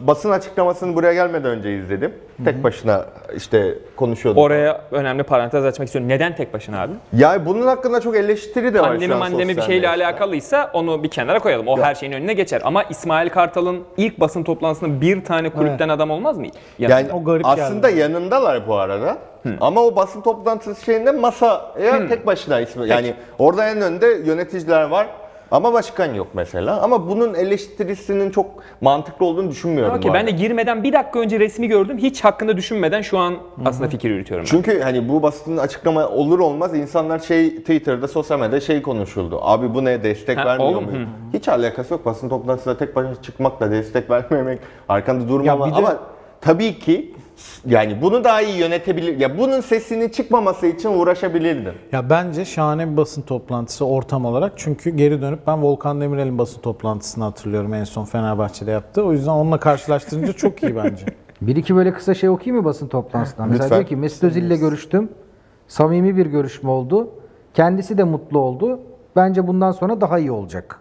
basın açıklamasını buraya gelmeden önce izledim. Tek başına işte konuşuyordu. Oraya önemli parantez açmak istiyorum. Neden tek başına abi? Ya bunun hakkında çok eleştiri de var şu Annemi an mandemi bir sosyal şeyle medyada. alakalıysa onu bir kenara koyalım. O her şeyin önüne geçer. Ama İsmail Kartal'ın ilk basın toplantısında bir tane kulüpten adam olmaz mı? Yani, Yani O garip geldi. Hmm. aslında yanındalar bu arada. Ama o basın toplantısı şeyinde masaya tek başına ismi. Yani orada en önde yöneticiler var. Ama başkan yok mesela. Ama bunun eleştirisinin çok mantıklı olduğunu düşünmüyorum. Okey, bu ben arada. de girmeden bir dakika önce resmi gördüm. Hiç hakkında düşünmeden şu an aslında fikir yürütüyorum. Ben. Çünkü hani bu basının açıklama olur olmaz insanlar şey Twitter'da, sosyal medyada şey konuşuldu. Abi bu ne destek Ha, vermiyor oğlum, mu? Hiç alakası yok. Basın toplantısında tek başına çıkmakla destek vermemek, arkanda durmamak bir de- ama tabii ki yani bunu daha iyi yönetebilir. Ya bunun sesinin çıkmaması için uğraşabilirdin. Ya bence şahane bir basın toplantısı ortam olarak. Çünkü geri dönüp ben Volkan Demirel'in basın toplantısını hatırlıyorum en son Fenerbahçe'de yaptı. O yüzden onunla karşılaştırınca çok iyi bence. Bir iki böyle kısa şey okuyayım mı basın toplantısından? Mesela Lütfen. diyor ki Mesut Özil'le görüştüm. Samimi bir görüşme oldu. Kendisi de mutlu oldu. Bence bundan sonra daha iyi olacak.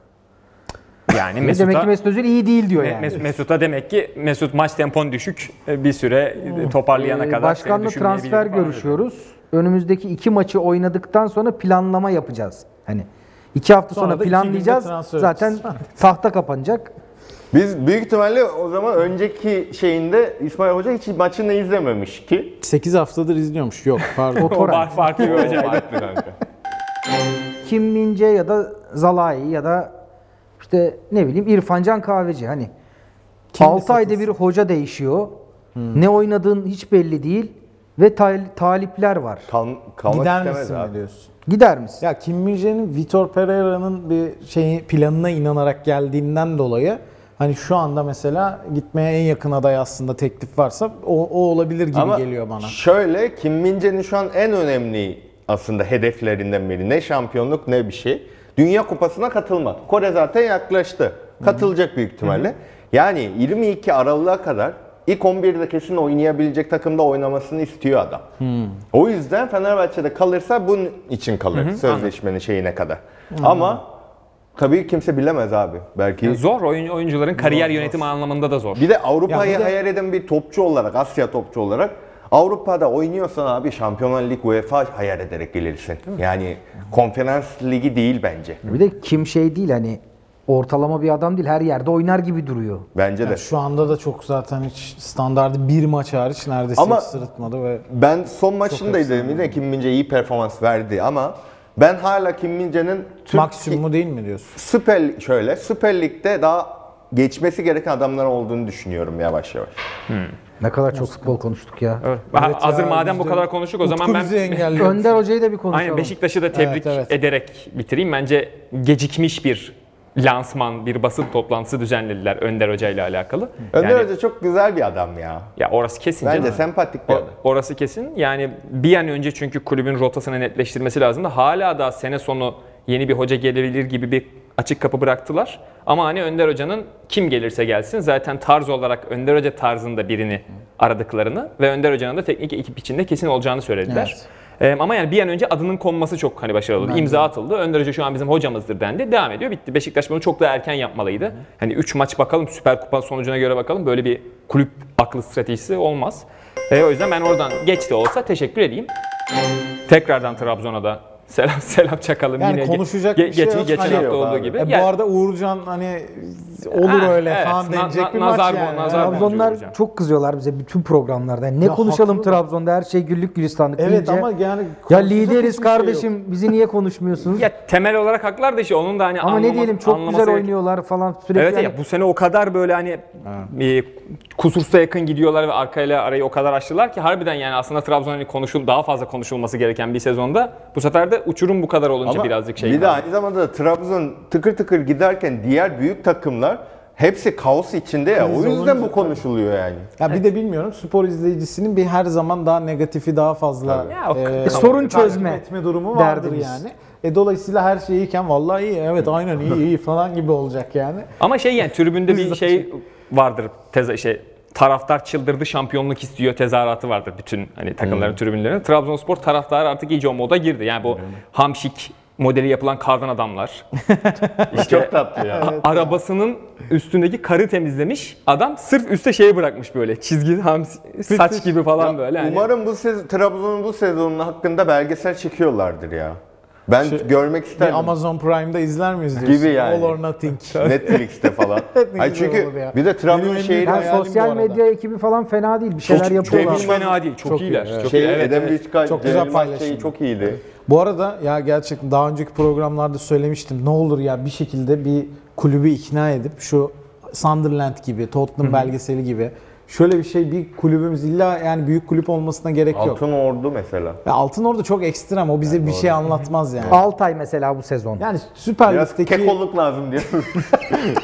Yani Demek ki Mesut'a Mesut Özil iyi değil diyor yani. Mes- Mesut'a demek ki Mesut maç tempon düşük e, bir süre e, toparlayana Ee, kadar. Başkanla seni düşünmeyebilirim transfer falan dedi. görüşüyoruz. Önümüzdeki iki maçı oynadıktan sonra planlama yapacağız. Hani iki hafta Sonra sonra, da iki planlayacağız. günde transfer Zaten edeceğiz. tahta kapanacak. Biz büyük ihtimalle o zaman önceki şeyinde İsmail Hoca hiç maçını izlememiş ki. 8 haftadır izliyormuş. Yok pardon. O var farklı bir hocam. Kim Mince ya da Zalai ya da işte ne bileyim İrfan Can Kahveci hani 6 ayda bir hoca değişiyor. Ne oynadığın hiç belli değil ve tal- talipler var. Kal kalmak Gider istemez misin abi. mi diyorsun? Gider misin? Ya Kim Min-jae'nin Vitor Pereira'nın bir şeyi planına inanarak geldiğinden dolayı hani şu anda mesela gitmeye en yakın aday aslında teklif varsa o, o olabilir gibi geliyor bana. Şöyle Kim Min-jae'nin şu an en önemli aslında hedeflerinden biri ne şampiyonluk ne bir şey. Dünya Kupası'na katılmak. Kore zaten yaklaştı. Katılacak büyük ihtimalle. Yani 22 Aralık'a kadar ilk 11'de kesin oynayabilecek takımda oynamasını istiyor adam. O yüzden Fenerbahçe'de kalırsa bunun için kalır sözleşmenin şeyine kadar. Ama tabii kimse bilemez abi. Belki Zor oyun, oyuncuların kariyer yönetimi anlamında da zor. bir de Avrupa'yı Ya bir de- hayal eden bir topçu olarak, Asya topçu olarak Avrupa'da oynuyorsan abi Şampiyonlar Ligi UEFA hayal ederek gelirsin. Yani konferans ligi değil bence. Bir de kim şey değil hani ortalama bir adam değil her yerde oynar gibi duruyor. Bence de. Şu anda da çok zaten hiç standardı bir maç hariç neredeyse Ama- hiç sırıtmadı ve Ben son maçını da izledim. Yine Kim Min-jae iyi performans verdi ama ben hala Kim Min-jae'nin Türk- maksimumu değil mi diyorsun? Süper şöyle Süper Lig'de daha geçmesi gereken adamlar olduğunu düşünüyorum yavaş yavaş. Ne kadar çok futbol konuştuk ya. Ha- Evet hazır ya, madem bu bizde- kadar konuştuk o zaman Utku ben bizi engelliyor. Önder Hoca'yı da bir konuşalım. Aynen Beşiktaş'ı da tebrik Evet, evet. ederek bitireyim. Bence gecikmiş bir lansman, bir basın toplantısı düzenlediler Önder Hoca ile alakalı. Önder Yani- Hoca çok güzel bir adam ya. Ya orası kesin Bence canım. sempatik bir O- adam. Orası kesin. Yani bir an önce çünkü kulübün rotasını netleştirmesi lazım da hala da sene sonu yeni bir hoca gelebilir gibi bir açık kapı bıraktılar. Ama hani Önder Hoca'nın kim gelirse gelsin zaten tarz olarak Önder Hoca tarzında birini aradıklarını ve Önder Hoca'nın da teknik ekip içinde kesin olacağını söylediler. Ee, ama yani bir an önce adının konması çok hani başarılı oldu. İmza atıldı. Önder Hoca şu an bizim hocamızdır dendi. Devam ediyor. Bitti. Beşiktaş bunu çok daha erken yapmalıydı. Hani 3 maç bakalım Süper Kupa sonucuna göre bakalım. Böyle bir kulüp aklı stratejisi olmaz. E, o yüzden ben oradan geç de olsa teşekkür edeyim. Tekrardan Trabzon'a da Selam selam çakalım Yani yine. ge- konuşacak bir şey geçen- yok. Geçen Hani- hafta Yok olduğu abi. gibi. E, Yani- bu arada Uğurcan hani olur Ha, öyle evet. falan Na- denecek na- bir nazar maç boncuğu, yani. nazar boncuğu. hocam. Trabzonlar çok kızıyorlar bize bütün programlarda. Yani ne Ya konuşalım haklı. Trabzon'da her şey güllük gülistanlık Evet deyince, ama yani Ya konuşacak hiçbir lideriz şey kardeşim yok. bizi niye konuşmuyorsunuz? Ya temel olarak haklar da işte onun da hani ama ne anlama- diyelim çok anlaması güzel gerek- oynuyorlar falan sürekli. Evet yani- ya bu sene o kadar böyle hani e, kusursuza yakın gidiyorlar ve arkayla arayı o kadar açtılar ki harbiden yani aslında Trabzon hani konuşul daha fazla konuşulması gereken bir sezonda bu sefer de uçurum bu kadar olunca Ama birazcık şey. Bir de kaldı. aynı zamanda da Trabzon tıkır tıkır giderken diğer büyük takımlar hepsi kaos içinde ya. Kriz o yüzden olunca bu konuşuluyor yani. Ya bir de bilmiyorum spor izleyicisinin bir her zaman daha negatifi daha fazla Ya o- e, E, sorun takip çözme etme durumu vardır derdimiz. yani. E dolayısıyla her şey iyiyken vallahi iyi evet aynen iyi iyi falan gibi olacak yani. Ama şey yani tribünde bir şey vardır teza şey taraftar çıldırdı şampiyonluk istiyor tezahüratı vardır bütün hani takımların tribünlerinde. Trabzonspor taraftarı artık iyice o moda girdi. Yani bu hamşik modeli yapılan kardan adamlar. Çok tatlı ya. Arabasının üstündeki karı temizlemiş. Adam sırf üste şeyi bırakmış böyle. Çizgi hamsi, saç gibi falan böyle. hani. Umarım bu sez- Trabzon'un bu sezonun hakkında belgesel çekiyorlardır ya. Ben görmek Şey, Bir isterdim. Amazon Prime'da izler miyiz diyorsun? Gibi yani. All or nothing. Netflix'te falan. Ne Hayır, güzel olur çünkü ya. bir de Trabzon Benim en şehri büyük Yani hayalim bu sosyal arada. medya ekibi falan fena değil. Bir şeyler yapıyorlar. şey. Hiç fena değil. Çok, iyiler. Çok şeyi iyi, evet, Edem evet. Büyükkaya- Çok güzel Cem Yılmaz paylaşım. şeyi çok iyiydi. Bu arada ya gerçekten daha önceki programlarda söylemiştim. Ne olur ya bir şekilde bir kulübü ikna edip şu Sunderland gibi, Tottenham belgeseli gibi şöyle bir şey bir kulübümüz illa yani büyük kulüp olmasına gerek yok. Altın Ordu mesela. Ya Altın orada çok ekstrem. O bize bir şey anlatmaz yani. Altay mesela bu sezon. Yani Süper Biraz Lig'deki kekoluk lazım diyor.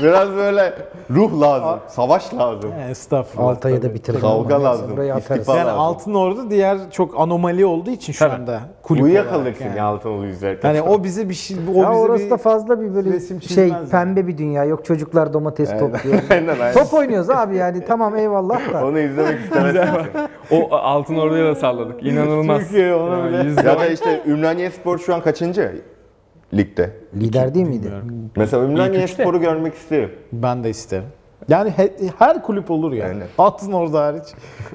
Biraz böyle ruh lazım, savaş lazım. Yani Estağfurullah. Altay'ı da tabii. bitirelim. Kavga Neyse, lazım, burayı atarız. istifa. Yani lazım. Altın Ordu diğer çok anomali olduğu için şu anda kulüp olarak Uyuyakalırsın yani. yani. altın ulu izlerken. Yani o bize bir şey o Ya bize orası bir da fazla bir böyle resim şey çizmez pembe bir dünya. Yok çocuklar domates topluyor. Aynen aynen. Top oynuyoruz abi yani tamam eyvallah da. Onu izlemek istemezsin. O altın orduya da salladık. İnanılmaz. Türkiye ona bile- yüzde- ya da işte Ümraniye Spor şu an kaçıncı ligde? Lider değil miydi? Mesela Ümraniye İlk üçte. Spor'u görmek isterim. ben de isterim. Yani he- her kulüp olur yani. Aynen. Altın Ordu hariç.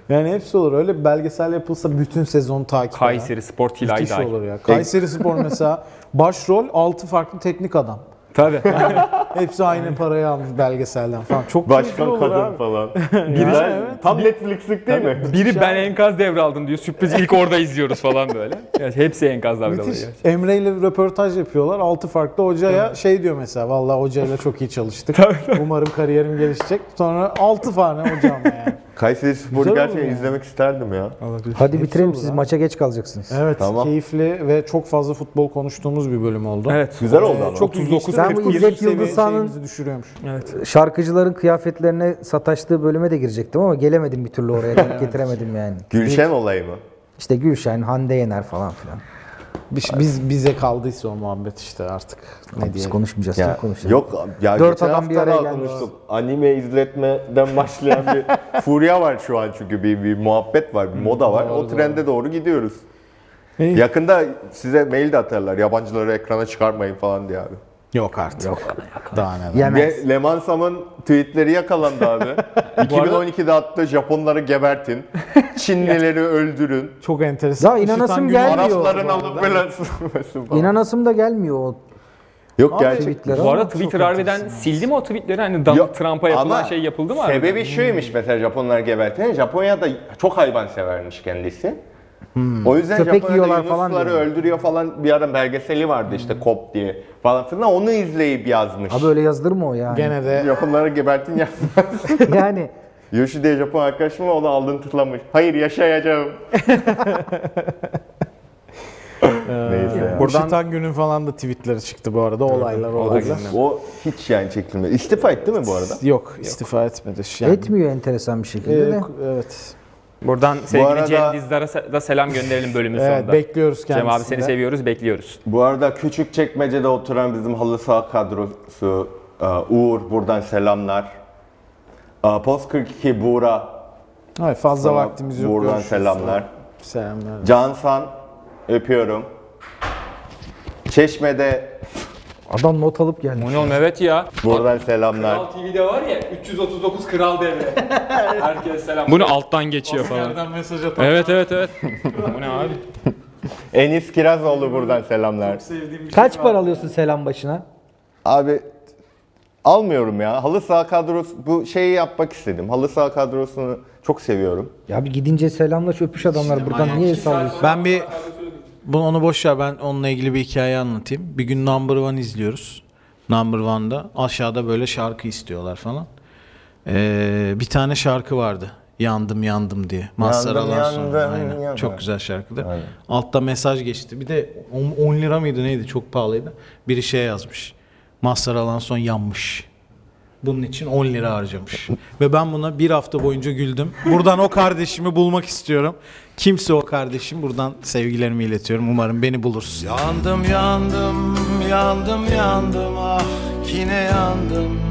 Yani hepsi olur. Öyle bir belgesel yapılsa bütün sezon takip eden. Kayseri Spor Tilay Müthiş dahil. olur ya. Kayseri Spor mesela başrol 6 farklı teknik adam. Tabii. Hepsi aynı parayı almış belgeselden falan. Çok keyifli Başkan olur kadın abi. falan. Güzel. Tam Netflix'lik değil mi? Biri ben enkaz devraldım diyor. Sürpriz ilk orada izliyoruz falan böyle. Yani hepsi enkaz dalgaları. Müthiş. Emre ile röportaj yapıyorlar. Altı farklı hocaya şey diyor mesela. Vallahi hocayla çok iyi çalıştık. Umarım kariyerim gelişecek. Sonra altı tane hocam yani. Kayseri Spor'u Güzel gerçekten olur yani. izlemek isterdim ya. Hadi bitirelim olur siz ha. maça geç kalacaksınız. Evet. Tamam. Keyifli ve çok fazla futbol konuştuğumuz bir bölüm oldu. Evet. Güzel Ee, oldu ama. çok 39 39 Ben bu İzzet Yıldızhan'ın- düşürüyormuş. Şarkıcıların kıyafetlerine sataştığı bölüme de girecektim ama gelemedim bir türlü oraya. Denk getiremedim yani. Gülşen olayı mı? İşte Gülşen, Hande Yener falan filan. Biz, biz bize kaldıysa o muhabbet işte artık ne Biz diyelim. konuşmayacağız. Ya, Ya, konuşalım. yok ya Şey. Dört geçen adam hafta bir araya daha geldi. konuştuk. Anime izletmeden başlayan bir furya var şu an çünkü bir, bir muhabbet var, bir Hmm, moda var. o trende doğru gidiyoruz. İyi. Yakında size mail de atarlar. Yabancıları ekrana çıkarmayın falan diye abi. Yok artık. Daha neler. Yemez. Ve Leman Sam'ın tweetleri yakalandı abi. 2012'de attı Japonları gebertin. Çinlileri öldürün. Çok enteresan. Ya inanasım Işıtan Gümüş- gelmiyor. Arapların alıp böyle sürmesin falan. İnanasım da gelmiyor o Yok Abi, gerçek. tweetler Bu ama. arada Twitter harbiden sildi mi o tweetleri? Hani Donald Yok, Trump'a yapılan ama şey yapıldı mı? harbiden? Sebebi şuymuş mesela Japonlar geberten. Japonya'da çok hayvan severmiş kendisi. O yüzden Hmm. Köpek Japonya'da yiyorlar falan yunusları diyor. öldürüyor falan bir ara belgeseli vardı işte Kop diye falan filan onu izleyip yazmış. Abi öyle yazılır mı o yani? Gene de Japonları gebertin yazmış. Yani Yoshi diye Japon arkadaşım var, o da alıntılamış. Hayır yaşayacağım. Neyse ya. Buradan... günün falan da tweetleri çıktı bu arada. Olaylar olaylar. Ee, O hiç yani çekilmedi. İstifa etti mi bu arada? Yok istifa etmedi. Yani, etmiyor enteresan bir şekilde Ee, de. evet. Buradan sevgili arada- Cem Dizdar'a se- da selam gönderelim bölümün Evet, sonunda. bekliyoruz Cem kendisini abi seni de. seviyoruz, bekliyoruz. Bu arada küçük çekmecede oturan bizim halı saha kadrosu e, Uğur buradan selamlar. E, Post 42 Buğra Hayır, fazla sana vaktimiz yok. buradan Görüşürüz. selamlar. Selamlar. Cansan öpüyorum. Çeşme'de Adam not alıp gelmiş. Munol evet ya. buradan selamlar. TV'de var ya 339 Kral Devri. Herkes selam. Bunu alttan geçiyor falan. mesaj Evet evet evet. Bu ne abi? Enis Kirazoğlu buradan selamlar. Kaç para alıyorsun selam başına? Abi almıyorum ya. Halı saha kadrosu bu şeyi yapmak istedim. Halı saha kadrosunu çok seviyorum. Ya bir gidince selamlaş öpüş adamlar buradan niye el sallıyorsun? Ben bir bunu onu boş ver ben onunla ilgili bir hikaye anlatayım. Bir gün Number One izliyoruz. Number One'da aşağıda böyle şarkı istiyorlar falan. Ee, bir tane şarkı vardı. Yandım yandım diye. Mazhar Yandım, Alan sonra. yandım, Aynen. yandım. Çok güzel şarkıdır. Altta mesaj geçti. Bir de 10 lira mıydı neydi çok pahalıydı. Biri şey yazmış. Mazhar Alan son yanmış. Bunun için 10 lira harcamış. Ve ben buna bir hafta boyunca güldüm. Buradan o kardeşimi bulmak istiyorum. Kimse o kardeşim buradan sevgilerimi iletiyorum. Umarım beni bulursun. Yandım yandım yandım yandım ah yine yandım.